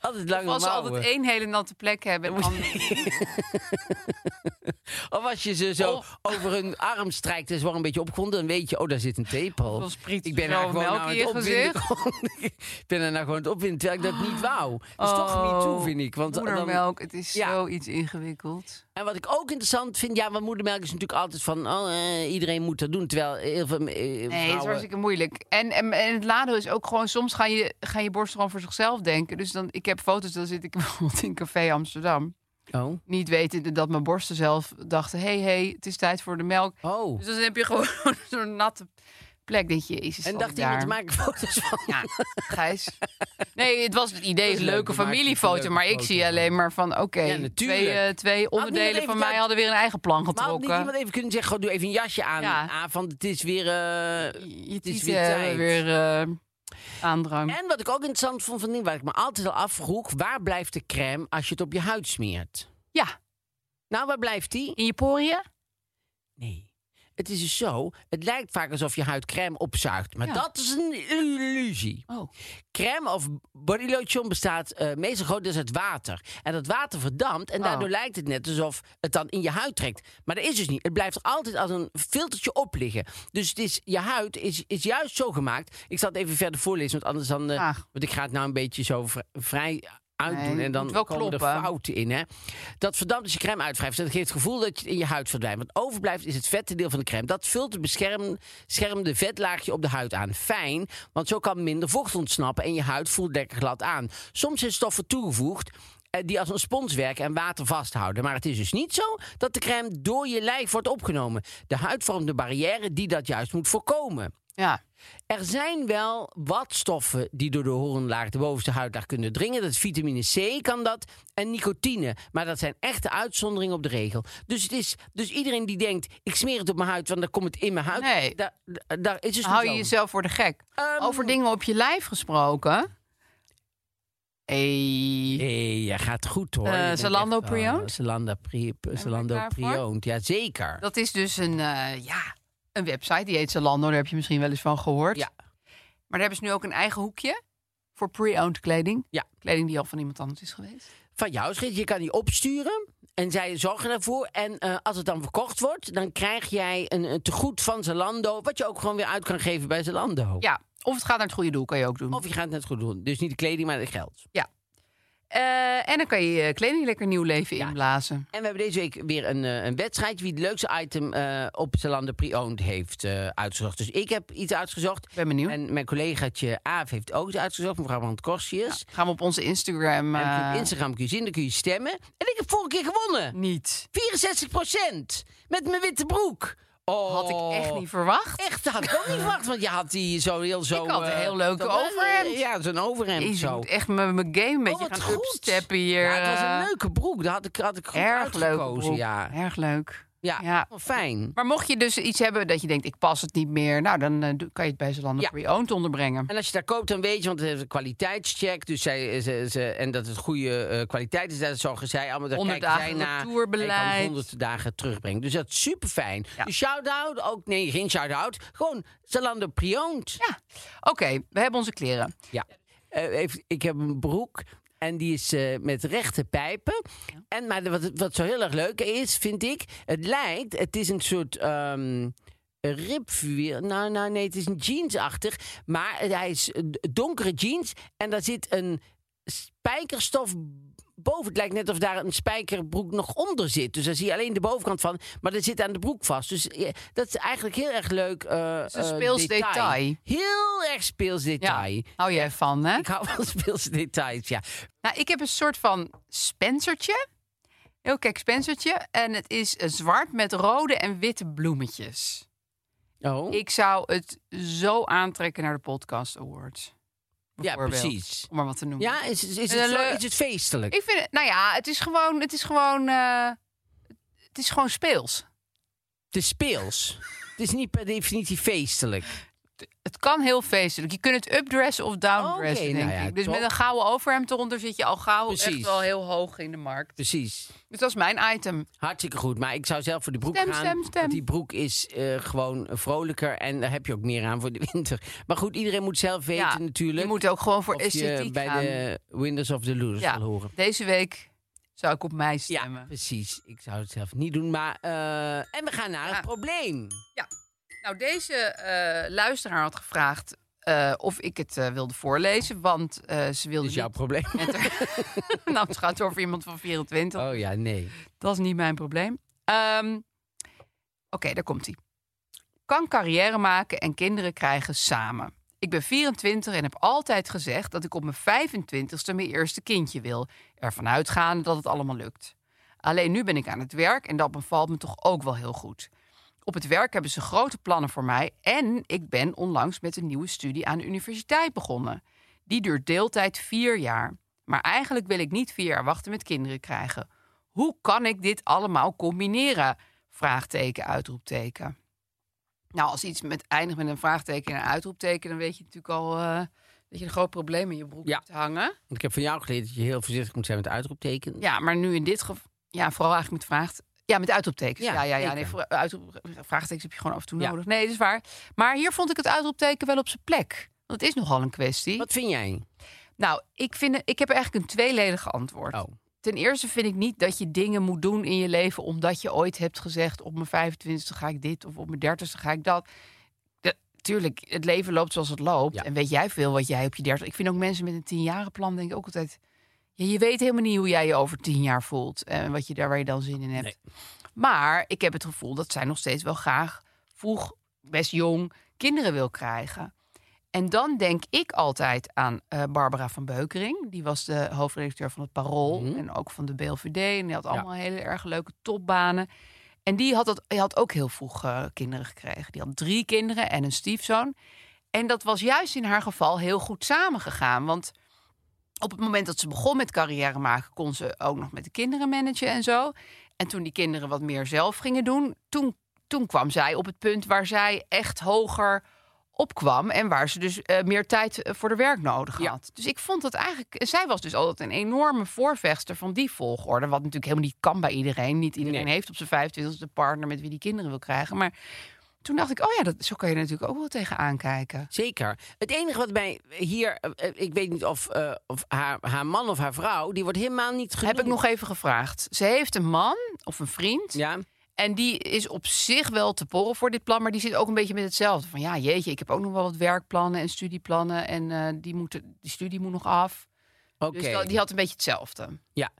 [SPEAKER 3] altijd lange
[SPEAKER 4] Of als ze
[SPEAKER 3] mouwen.
[SPEAKER 4] altijd één hele natte plek hebben. en andere
[SPEAKER 3] Of als je ze zo
[SPEAKER 4] Of-
[SPEAKER 3] over hun arm strijkt en ze worden een beetje opgewonden... dan weet je, oh, daar zit een tepel.
[SPEAKER 4] dan spriet
[SPEAKER 3] ik ben
[SPEAKER 4] zo
[SPEAKER 3] daar gewoon
[SPEAKER 4] melk
[SPEAKER 3] nou aan
[SPEAKER 4] in
[SPEAKER 3] het
[SPEAKER 4] je
[SPEAKER 3] opwinden.
[SPEAKER 4] gezicht.
[SPEAKER 3] gewoon. ik ben daar nou gewoon aan het opwinden, terwijl ik dat niet wou. Dat is toch niet toe, vind ik. Want dan-
[SPEAKER 4] Oh. moedermelk, het is
[SPEAKER 3] Ja.
[SPEAKER 4] zoiets ingewikkeld.
[SPEAKER 3] en wat ik ook interessant vind, ja, want moedermelk is natuurlijk altijd van... Oh, eh, iedereen moet dat doen, terwijl heel veel eh,
[SPEAKER 4] Nee, het is
[SPEAKER 3] vrouwen...
[SPEAKER 4] hartstikke moeilijk. En, en, en het nadeel is ook gewoon, soms gaan je, gaan je borsten gewoon voor zichzelf denken. Dus dan, ik heb foto's, dan zit ik bijvoorbeeld in Café Amsterdam.
[SPEAKER 3] Oh.
[SPEAKER 4] Niet wetende dat mijn borsten zelf dachten, hé, hey, hey, het is tijd voor de melk.
[SPEAKER 3] Oh.
[SPEAKER 4] Dus dan heb je gewoon zo'n natte plek. Denk je, jezus,
[SPEAKER 3] En
[SPEAKER 4] zal
[SPEAKER 3] dacht
[SPEAKER 4] ik
[SPEAKER 3] iemand,
[SPEAKER 4] daar.
[SPEAKER 3] maak ik foto's van.
[SPEAKER 4] Ja, Gijs. Nee, het was het idee,
[SPEAKER 3] Dat is
[SPEAKER 4] een
[SPEAKER 3] leuk, dan
[SPEAKER 4] leuke
[SPEAKER 3] maak je een
[SPEAKER 4] familiefoto.
[SPEAKER 3] leuke
[SPEAKER 4] Maar ik
[SPEAKER 3] foto
[SPEAKER 4] zie
[SPEAKER 3] van.
[SPEAKER 4] alleen maar van, oké,
[SPEAKER 3] Ja, natuurlijk.
[SPEAKER 4] twee, eh, twee
[SPEAKER 3] niemand
[SPEAKER 4] onderdelen
[SPEAKER 3] even
[SPEAKER 4] van mij
[SPEAKER 3] dat-
[SPEAKER 4] hadden weer een eigen plan
[SPEAKER 3] Maar had niet iemand
[SPEAKER 4] getrokken.
[SPEAKER 3] even kunnen zeggen, gewoon doe even een jasje aan.
[SPEAKER 4] Ja.
[SPEAKER 3] Ah, van het is weer... eh,
[SPEAKER 4] Je
[SPEAKER 3] is
[SPEAKER 4] tieten
[SPEAKER 3] weer tijd.
[SPEAKER 4] hebben weer eh, aandrang.
[SPEAKER 3] En wat ik ook interessant vond van ding, waar ik me altijd al afvroeg... waar blijft de crème als je het op je huid smeert?
[SPEAKER 4] Ja,
[SPEAKER 3] Nou, waar blijft die?
[SPEAKER 4] in je poriën.
[SPEAKER 3] Nee. Het is dus zo, het lijkt vaak alsof je huid crème opzuigt. Maar
[SPEAKER 4] Ja.
[SPEAKER 3] dat is een illusie.
[SPEAKER 4] Oh.
[SPEAKER 3] Crème of bodylotion bestaat eh, meestal grotendeels uit water. En dat water verdampt en
[SPEAKER 4] Oh.
[SPEAKER 3] daardoor lijkt het net alsof het dan in je huid trekt. Maar dat is dus niet. Het blijft er altijd als een filtertje op liggen. Dus het is, je huid is, is juist zo gemaakt. Ik zal het even verder voorlezen, want anders dan... eh,
[SPEAKER 4] Graag.
[SPEAKER 3] want ik ga het nou een beetje zo vri- vrij uitdoen.
[SPEAKER 4] Nee,
[SPEAKER 3] en
[SPEAKER 4] het
[SPEAKER 3] dan
[SPEAKER 4] moet wel
[SPEAKER 3] komen er
[SPEAKER 4] kloppen.
[SPEAKER 3] fouten in. Hè? Dat verdampt als je crème uitwrijft. Dat geeft het gevoel dat je het in je huid verdwijnt. Wat overblijft is het vette deel van de crème. Dat vult het bescherm- beschermde vetlaagje op de huid aan. Fijn, want zo kan minder vocht ontsnappen en je huid voelt lekker glad aan. Soms zijn stoffen toegevoegd eh, die als een spons werken en water vasthouden. Maar het is dus niet zo dat de crème door je lijf wordt opgenomen. De huid vormt een barrière die dat juist moet voorkomen.
[SPEAKER 4] Ja.
[SPEAKER 3] Er zijn wel wat stoffen die door de horenlaag, de bovenste huidlaag, kunnen dringen. Dat is vitamine C kan dat en nicotine. Maar dat zijn echte uitzonderingen op de regel. Dus, het is, dus iedereen die denkt, ik smeer het op mijn huid, want dan komt het in mijn huid.
[SPEAKER 4] Nee.
[SPEAKER 3] Daar, daar- daar is dus
[SPEAKER 4] Hou
[SPEAKER 3] niet
[SPEAKER 4] je
[SPEAKER 3] zo.
[SPEAKER 4] jezelf voor de gek.
[SPEAKER 3] Ehm,
[SPEAKER 4] Over dingen op je lijf gesproken. Hey.
[SPEAKER 3] Nee, je gaat goed hoor.
[SPEAKER 4] Eh,
[SPEAKER 3] Je bent
[SPEAKER 4] Zalando
[SPEAKER 3] echt, oh,
[SPEAKER 4] Pre-owned?
[SPEAKER 3] Zalando Pre-
[SPEAKER 4] je
[SPEAKER 3] Zalando
[SPEAKER 4] klaar voor?
[SPEAKER 3] Pre-owned, ja zeker.
[SPEAKER 4] Dat is dus een, eh, ja, een website, die heet Zalando. Daar heb je misschien wel eens van gehoord.
[SPEAKER 3] Ja.
[SPEAKER 4] Maar daar hebben ze nu ook een eigen hoekje voor pre-owned kleding.
[SPEAKER 3] Ja.
[SPEAKER 4] Kleding die al van iemand anders is geweest.
[SPEAKER 3] van jou, Schritt. Je kan die opsturen en zij zorgen daarvoor. En eh, als het dan verkocht wordt, dan krijg jij een, een tegoed van Zalando... wat je ook gewoon weer uit kan geven bij Zalando.
[SPEAKER 4] Ja, of het gaat naar het goede doel, kan je ook doen.
[SPEAKER 3] Of je gaat het net goed doen. Dus niet de kleding, maar het geld.
[SPEAKER 4] Ja. Eh, en dan kan je je kleding lekker nieuw leven inblazen.
[SPEAKER 3] En we hebben deze week weer een, eh, een wedstrijd wie het leukste item eh, op Zalando pre-owned heeft eh, uitgezocht. Dus ik heb iets uitgezocht.
[SPEAKER 4] Ben benieuwd.
[SPEAKER 3] En mijn collegaatje Aaf heeft ook iets uitgezocht, mevrouw Brand Korsius.
[SPEAKER 4] Gaan we op onze Instagram
[SPEAKER 3] En
[SPEAKER 4] eh,
[SPEAKER 3] op Instagram kun je zien, dan kun je stemmen. En ik heb vorige keer gewonnen.
[SPEAKER 4] niet.
[SPEAKER 3] 64 Met mijn witte broek. Oh,
[SPEAKER 4] Had ik echt niet verwacht.
[SPEAKER 3] Echt, dat had ik ook niet verwacht. Want je had die zo heel zo...
[SPEAKER 4] Ik had een
[SPEAKER 3] eh,
[SPEAKER 4] heel leuke
[SPEAKER 3] dat-
[SPEAKER 4] overhemd.
[SPEAKER 3] Ja, zo'n overhemd
[SPEAKER 4] Jezus, ik
[SPEAKER 3] zo.
[SPEAKER 4] moet echt mijn mijn game een beetje
[SPEAKER 3] Oh, wat
[SPEAKER 4] gaan upsteppen hier.
[SPEAKER 3] Ja, het was
[SPEAKER 4] eh.
[SPEAKER 3] een leuke broek. Dat had ik, had ik goed
[SPEAKER 4] Erg leuk.
[SPEAKER 3] uitgekozen.
[SPEAKER 4] broek.
[SPEAKER 3] Ja.
[SPEAKER 4] Erg leuk.
[SPEAKER 3] Ja,
[SPEAKER 4] Ja. Oh,
[SPEAKER 3] fijn.
[SPEAKER 4] Maar mocht je dus iets hebben dat je denkt, ik pas het niet meer. Nou, dan eh, doe- kan je het bij Zalando
[SPEAKER 3] Ja.
[SPEAKER 4] Pre-Owned onderbrengen.
[SPEAKER 3] En als je daar koopt, dan weet je, want het heeft een kwaliteitscheck. Dus zij, ze, ze- en dat het goede eh, kwaliteit is. Dat zorgen zij allemaal. Daar
[SPEAKER 4] 100
[SPEAKER 3] kijken zij
[SPEAKER 4] dagen
[SPEAKER 3] naar.
[SPEAKER 4] retourbeleid.
[SPEAKER 3] En je kan het 100 dagen terugbrengen. Dus dat is super fijn.
[SPEAKER 4] Ja.
[SPEAKER 3] Dus shout-out. Ook, nee, geen shout-out. Gewoon Zalando Priont.
[SPEAKER 4] Ja, oké. we hebben onze kleren.
[SPEAKER 3] Ja. Eh, even- ik heb een broek. En die is eh, met rechte pijpen. En, maar wat, wat zo heel erg leuk is, vind ik. Het lijkt, het is een soort. ehm Ripvuur. Nou, nou, nee, het is een jeansachtig. Maar het- hij is eh, donkere jeans. En daar zit een spijkerstof boven. Het lijkt net of daar een spijkerbroek nog onder zit. Dus daar zie je alleen de bovenkant van. Maar dat zit aan de broek vast. Dus eh, dat is eigenlijk heel erg leuk. eh,
[SPEAKER 4] is een
[SPEAKER 3] eh,
[SPEAKER 4] speels detail.
[SPEAKER 3] Heel erg speels
[SPEAKER 4] Ja,
[SPEAKER 3] detail.
[SPEAKER 4] hou jij van, hè?
[SPEAKER 3] Ik hou van speelse details, ja.
[SPEAKER 4] Nou, ik heb een soort van spencertje. Heel kijk, spencertje. En het is eh, zwart met rode en witte bloemetjes.
[SPEAKER 3] Oh,
[SPEAKER 4] Ik zou het zo aantrekken naar de Podcast Awards.
[SPEAKER 3] ja,
[SPEAKER 4] bijvoorbeeld. Mm.
[SPEAKER 3] precies.
[SPEAKER 4] Om maar wat te noemen.
[SPEAKER 3] Ja, is, is, is,
[SPEAKER 4] Een
[SPEAKER 3] het, zo-
[SPEAKER 4] leu-
[SPEAKER 3] is het feestelijk?
[SPEAKER 4] Ik vind het, nou ja, het is gewoon, het is gewoon, eh, het is gewoon speels.
[SPEAKER 3] De speels. het is niet per definitie feestelijk.
[SPEAKER 4] Het kan heel feestelijk. Je kunt het updressen of downdressen,
[SPEAKER 3] Oké, nou
[SPEAKER 4] denk
[SPEAKER 3] ja,
[SPEAKER 4] ik. Dus
[SPEAKER 3] top.
[SPEAKER 4] met een gouden overhemd eronder zit je al gauw echt
[SPEAKER 3] Precies.
[SPEAKER 4] wel heel hoog in de markt.
[SPEAKER 3] Precies.
[SPEAKER 4] Dus dat is mijn item.
[SPEAKER 3] Hartstikke goed, maar ik zou zelf voor de broek
[SPEAKER 4] Stem,
[SPEAKER 3] gaan.
[SPEAKER 4] stem, stem.
[SPEAKER 3] Want die broek is eh, gewoon vrolijker en daar heb je ook meer aan voor de winter. Maar goed, iedereen moet zelf weten
[SPEAKER 4] Ja,
[SPEAKER 3] natuurlijk.
[SPEAKER 4] Je moet ook gewoon voor
[SPEAKER 3] of je
[SPEAKER 4] esthetiek
[SPEAKER 3] bij
[SPEAKER 4] gaan.
[SPEAKER 3] de Windows of the Losers
[SPEAKER 4] ja,
[SPEAKER 3] wil horen.
[SPEAKER 4] deze week zou ik op mij stemmen.
[SPEAKER 3] Ja, precies. Ik zou het zelf niet doen, maar... eh, en we gaan naar
[SPEAKER 4] Ja.
[SPEAKER 3] het probleem.
[SPEAKER 4] Nou, deze eh, luisteraar had gevraagd eh, of ik het eh, wilde voorlezen, want eh, ze wilde
[SPEAKER 3] Dus jouw
[SPEAKER 4] niet
[SPEAKER 3] probleem.
[SPEAKER 4] met haar- nou, het gaat over iemand van 24.
[SPEAKER 3] Oh ja, nee.
[SPEAKER 4] Dat is niet mijn probleem. Ehm, Oké, daar komt ie. Kan carrière maken en kinderen krijgen samen. Ik ben 24 en heb altijd gezegd dat ik op mijn 25ste mijn eerste kindje wil. Ervan uitgaande dat het allemaal lukt. Alleen nu ben ik aan het werk en dat bevalt me toch ook wel heel goed. Op het werk hebben ze grote plannen voor mij en ik ben onlangs met een nieuwe studie aan de universiteit begonnen. Die duurt deeltijd vier jaar. Maar eigenlijk wil ik niet vier jaar wachten met kinderen krijgen. Hoe kan ik dit allemaal combineren? Vraagteken, uitroepteken. Nou, als iets met, eindigt met een vraagteken en een uitroepteken, dan weet je natuurlijk al eh, dat je een groot probleem in je broek
[SPEAKER 3] Ja.
[SPEAKER 4] hebt hangen.
[SPEAKER 3] Want ik heb van jou geleerd dat je heel voorzichtig moet zijn met uitroeptekens.
[SPEAKER 4] Ja, maar nu in dit geval, ja, vooral eigenlijk met vraagt. Ja, met uitroeptekens.
[SPEAKER 3] Ja,
[SPEAKER 4] Ja, ja, ja. Nee,
[SPEAKER 3] zeker.
[SPEAKER 4] voor- eh, uitroep- vraagtekens heb je gewoon af en toe
[SPEAKER 3] Ja.
[SPEAKER 4] nodig. Nee, dat is waar. Maar hier vond ik het uitroepteken wel op zijn plek. Want het is nogal een kwestie.
[SPEAKER 3] Wat vind jij?
[SPEAKER 4] Nou, ik, vind, ik heb eigenlijk een tweeledig antwoord.
[SPEAKER 3] Oh.
[SPEAKER 4] Ten eerste vind ik niet dat je dingen moet doen in je leven omdat je ooit hebt gezegd op mijn 25e ga ik dit of op mijn 30e ga ik dat. De- tuurlijk, het leven loopt zoals het loopt.
[SPEAKER 3] Ja.
[SPEAKER 4] En weet jij veel wat jij op je 30. Ik vind ook mensen met een 10 plan denk ik ook altijd. Ja, je weet helemaal niet hoe jij je over tien jaar voelt en wat je daar waar je dan zin in hebt. Maar ik heb het gevoel dat zij nog steeds wel graag vroeg, best jong, kinderen wil krijgen. En dan denk ik altijd aan eh, Barbara van Beukering. Die was de hoofdredacteur van het Parool en ook van de BLVD. En die had allemaal hele erg leuke topbanen. En die had, dat, die had ook heel vroeg eh, kinderen gekregen. Die had drie kinderen en een stiefzoon. En dat was juist in haar geval heel goed samengegaan. Want op het moment dat ze begon met carrière maken, kon ze ook nog met de kinderen managen en zo. En toen die kinderen wat meer zelf gingen doen, toen, toen kwam zij op het punt waar zij echt hoger opkwam en waar ze dus eh, meer tijd eh, voor de werk nodig had. Dus ik vond dat eigenlijk, en zij was dus altijd een enorme voorvechter van die volgorde, wat natuurlijk helemaal niet kan bij iedereen. Niet iedereen
[SPEAKER 3] Nee.
[SPEAKER 4] heeft op zijn 25 de partner met wie die kinderen wil krijgen. Maar toen dacht ik, oh ja, dat, zo kan je er natuurlijk ook wel tegenaan kijken.
[SPEAKER 3] Zeker. Het enige wat mij hier, eh, eh, ik weet niet of, eh, of haar, haar man of haar vrouw, die wordt helemaal niet genoemd.
[SPEAKER 4] Heb ik nog even gevraagd. Ze heeft een man of een vriend.
[SPEAKER 3] Ja,
[SPEAKER 4] En die is op zich wel te porren voor dit plan, maar die zit ook een beetje met hetzelfde. Van ja, jeetje, ik heb ook nog wel wat werkplannen en studieplannen en eh, die, moeten, die studie moet nog af.
[SPEAKER 3] Oké.
[SPEAKER 4] Dus dat- die had een beetje hetzelfde.
[SPEAKER 3] Ja.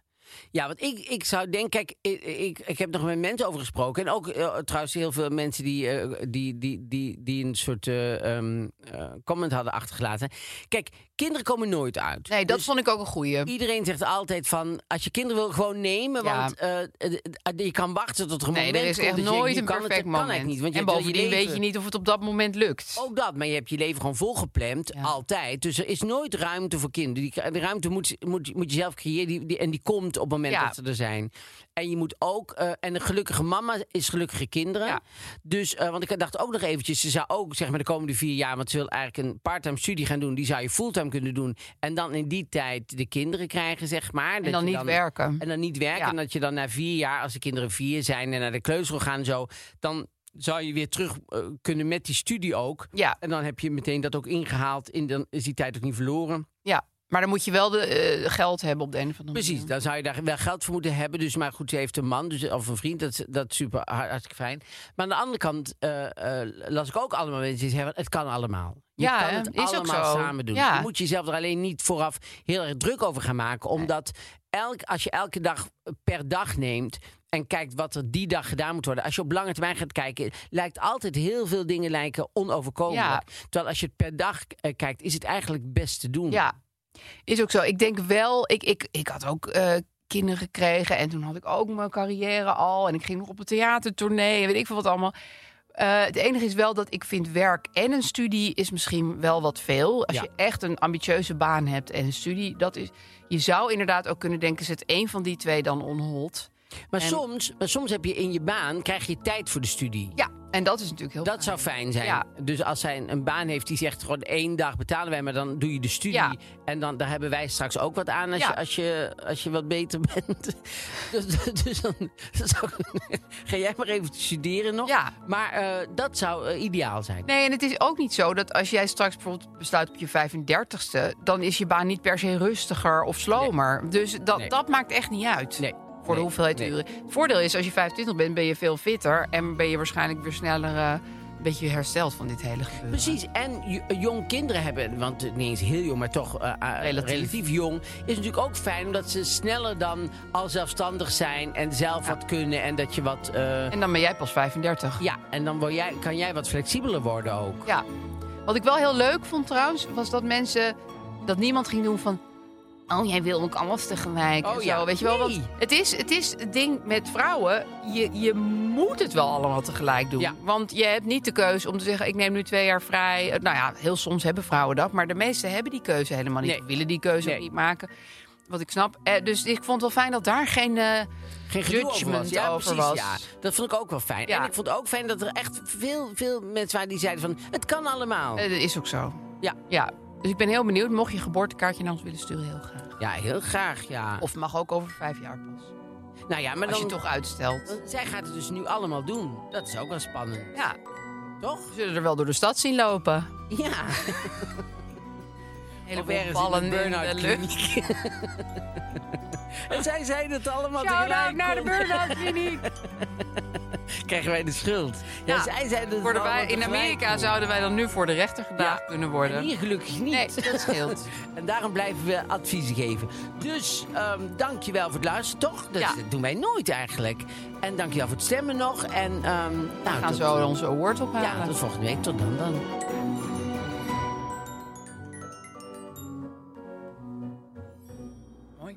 [SPEAKER 3] Ja, want ik, ik zou denken, kijk, ik, ik, ik heb nog met mensen over gesproken. En ook eh, trouwens heel veel mensen die, eh, die, die, die, die een soort eh, ehm, eh, comment hadden achtergelaten. Kijk, kinderen komen nooit uit.
[SPEAKER 4] Nee, dat vond ik ook een goeie.
[SPEAKER 3] Iedereen zegt altijd van, als je kinderen wil, gewoon nemen.
[SPEAKER 4] Ja.
[SPEAKER 3] Want eh, eh, eh, je kan wachten tot er een
[SPEAKER 4] Nee,
[SPEAKER 3] moment
[SPEAKER 4] er is
[SPEAKER 3] komt
[SPEAKER 4] echt
[SPEAKER 3] dat je denkt,
[SPEAKER 4] nooit
[SPEAKER 3] nu
[SPEAKER 4] een
[SPEAKER 3] kan het-
[SPEAKER 4] perfect
[SPEAKER 3] kan het
[SPEAKER 4] moment.
[SPEAKER 3] niet, Oh, want je
[SPEAKER 4] en
[SPEAKER 3] hebt wel je
[SPEAKER 4] bovendien weet je
[SPEAKER 3] leven.
[SPEAKER 4] niet of het op dat moment lukt.
[SPEAKER 3] Ook dat, maar je hebt je leven gewoon volgepland, altijd. Dus er is nooit ruimte voor kinderen. Die, de ruimte moet, moet, moet je zelf creëren die, die- en die komt op het moment
[SPEAKER 4] Ja.
[SPEAKER 3] dat ze er zijn. En je moet ook, eh, en een gelukkige mama is gelukkige kinderen.
[SPEAKER 4] Ja.
[SPEAKER 3] Dus, eh, want ik dacht ook nog eventjes, ze zou ook zeg maar de komende vier jaar, want ze wil eigenlijk een parttime studie gaan doen, die zou je fulltime kunnen doen. En dan in die tijd de kinderen krijgen, zeg maar.
[SPEAKER 4] en dan niet werken.
[SPEAKER 3] En dan niet werken.
[SPEAKER 4] Ja.
[SPEAKER 3] En dat je dan na vier jaar, als de kinderen vier zijn en naar de kleuterschool gaan en zo, dan zou je weer terug eh, kunnen met die studie ook.
[SPEAKER 4] Ja.
[SPEAKER 3] En dan heb je meteen dat ook ingehaald. En dan is die tijd ook niet verloren.
[SPEAKER 4] ja, maar dan moet je wel de eh, geld hebben op de een of andere
[SPEAKER 3] Precies,
[SPEAKER 4] manier.
[SPEAKER 3] dan zou je daar wel geld voor moeten hebben. Dus, maar goed, ze heeft een man dus, of een vriend. Dat, is- dat is super hart- hartstikke fijn. Maar aan de andere kant eh, eh, las ik ook allemaal mensen die zeggen... het kan allemaal. Je
[SPEAKER 4] Ja,
[SPEAKER 3] kan
[SPEAKER 4] hè?
[SPEAKER 3] het
[SPEAKER 4] Is ook
[SPEAKER 3] allemaal
[SPEAKER 4] zo.
[SPEAKER 3] samen doen.
[SPEAKER 4] Ja.
[SPEAKER 3] Je moet jezelf er alleen niet vooraf heel erg druk over gaan maken. Omdat elk, als je elke dag per dag neemt... En kijkt wat er die dag gedaan moet worden. Als je op lange termijn gaat kijken, lijkt altijd heel veel dingen lijken onoverkomelijk. Terwijl als je het per dag eh, kijkt, is het eigenlijk best te doen.
[SPEAKER 4] Ja, is ook zo. Ik denk wel, ik, ik, ik had ook eh, kinderen gekregen en toen had ik ook mijn carrière al. En ik ging nog op een theatertournee en weet ik veel wat allemaal. Eh, het enige is wel dat ik vind werk en een studie is misschien wel wat veel. Als
[SPEAKER 3] Ja.
[SPEAKER 4] je echt een ambitieuze baan hebt en een studie, dat is. Je zou inderdaad ook kunnen denken: zet één van die twee dan onhold.
[SPEAKER 3] Maar,
[SPEAKER 4] En-
[SPEAKER 3] soms, maar soms heb je in je baan krijg je tijd voor de studie.
[SPEAKER 4] Ja, en dat is natuurlijk heel.
[SPEAKER 3] Dat zou fijn zijn.
[SPEAKER 4] Ja.
[SPEAKER 3] Dus als zij een baan heeft die zegt gewoon één dag betalen wij, maar dan doe je de studie.
[SPEAKER 4] Ja.
[SPEAKER 3] En dan daar hebben wij straks ook wat aan als,
[SPEAKER 4] Ja.
[SPEAKER 3] je, als, je, als je wat beter bent. dus, dus dan zou ik- ga jij maar even studeren nog.
[SPEAKER 4] Ja.
[SPEAKER 3] Maar eh, dat zou eh, ideaal zijn.
[SPEAKER 4] Nee, en het is ook niet zo dat als jij straks bijvoorbeeld besluit op je 35ste, dan is je baan niet per se rustiger of slomer. Dus dat,
[SPEAKER 3] Nee.
[SPEAKER 4] dat maakt echt niet uit.
[SPEAKER 3] Nee.
[SPEAKER 4] Voor de
[SPEAKER 3] Nee.
[SPEAKER 4] hoeveelheid
[SPEAKER 3] Nee.
[SPEAKER 4] uren. Het voordeel is, als je 25 bent, ben je veel fitter. En ben je waarschijnlijk weer sneller eh, een beetje hersteld van dit hele gebeuren.
[SPEAKER 3] Precies, en j- jong kinderen hebben, want niet eens heel jong, maar toch eh, eh,
[SPEAKER 4] Relatief.
[SPEAKER 3] relatief. jong, is natuurlijk ook fijn omdat ze sneller dan al zelfstandig zijn en zelf wat kunnen en dat je wat. eh,
[SPEAKER 4] En dan ben jij pas 35.
[SPEAKER 3] ja, en dan word jij, kan jij wat flexibeler worden ook.
[SPEAKER 4] Ja. Wat ik wel heel leuk vond trouwens, was dat mensen dat niemand ging doen van. Oh, jij wil ook alles tegelijk. en
[SPEAKER 3] Oh
[SPEAKER 4] zo,
[SPEAKER 3] ja,
[SPEAKER 4] weet je wel.
[SPEAKER 3] nee.
[SPEAKER 4] Want het is, het is het ding met vrouwen. Je, je moet het wel allemaal tegelijk doen.
[SPEAKER 3] Ja.
[SPEAKER 4] Want je hebt niet de keuze om te zeggen: ik neem nu twee jaar vrij. Eh, Nou ja, heel soms hebben vrouwen dat. Maar de meesten hebben die keuze helemaal niet.
[SPEAKER 3] Nee.
[SPEAKER 4] of willen die keuze ook
[SPEAKER 3] Nee.
[SPEAKER 4] niet maken. Wat ik snap. Eh, dus ik vond het wel fijn dat daar geen. eh,
[SPEAKER 3] Geen gedoe over
[SPEAKER 4] Judgment
[SPEAKER 3] was. Ja,
[SPEAKER 4] over
[SPEAKER 3] precies,
[SPEAKER 4] was.
[SPEAKER 3] ja. Dat vond ik ook wel fijn.
[SPEAKER 4] Ja.
[SPEAKER 3] En ik vond ook fijn dat er echt veel, veel mensen waren die zeiden van... het kan allemaal.
[SPEAKER 4] eh, dat is ook zo.
[SPEAKER 3] Ja.
[SPEAKER 4] ja. Dus ik ben heel benieuwd. Mocht je geboortekaartje naar ons willen sturen, heel graag.
[SPEAKER 3] Ja, heel graag, ja.
[SPEAKER 4] Of mag ook over vijf jaar pas.
[SPEAKER 3] nou ja, maar
[SPEAKER 4] Als
[SPEAKER 3] dan...
[SPEAKER 4] je toch uitstelt.
[SPEAKER 3] Zij gaat het dus nu allemaal doen. Dat is ook wel spannend,
[SPEAKER 4] Ja,
[SPEAKER 3] toch?
[SPEAKER 4] we zullen er wel door de stad zien lopen.
[SPEAKER 3] Ja.
[SPEAKER 4] Hele
[SPEAKER 3] Of ergens in de burn-out kliniek. en zij zeiden het allemaal
[SPEAKER 4] Shout-out
[SPEAKER 3] tegelijk.
[SPEAKER 4] naar de burn-out kliniek.
[SPEAKER 3] Krijgen wij de schuld. Ja,
[SPEAKER 4] Ja,
[SPEAKER 3] zij zeiden het
[SPEAKER 4] Worden wij,
[SPEAKER 3] allemaal
[SPEAKER 4] in
[SPEAKER 3] tegelijk.
[SPEAKER 4] Amerika zouden wij dan nu voor de rechter gedaagd kunnen
[SPEAKER 3] En
[SPEAKER 4] worden.
[SPEAKER 3] hier gelukkig niet.
[SPEAKER 4] Nee, dat scheelt.
[SPEAKER 3] En daarom blijven we adviezen geven. Dus ehm dankjewel voor het luisteren, toch? Dat
[SPEAKER 4] Ja.
[SPEAKER 3] doen wij nooit eigenlijk. En dankjewel voor het stemmen nog. En ehm nou,
[SPEAKER 4] We gaan
[SPEAKER 3] tot-
[SPEAKER 4] zo onze award
[SPEAKER 3] Ja,
[SPEAKER 4] ophalen.
[SPEAKER 3] tot volgende week. Tot dan dan.
[SPEAKER 4] Mooi.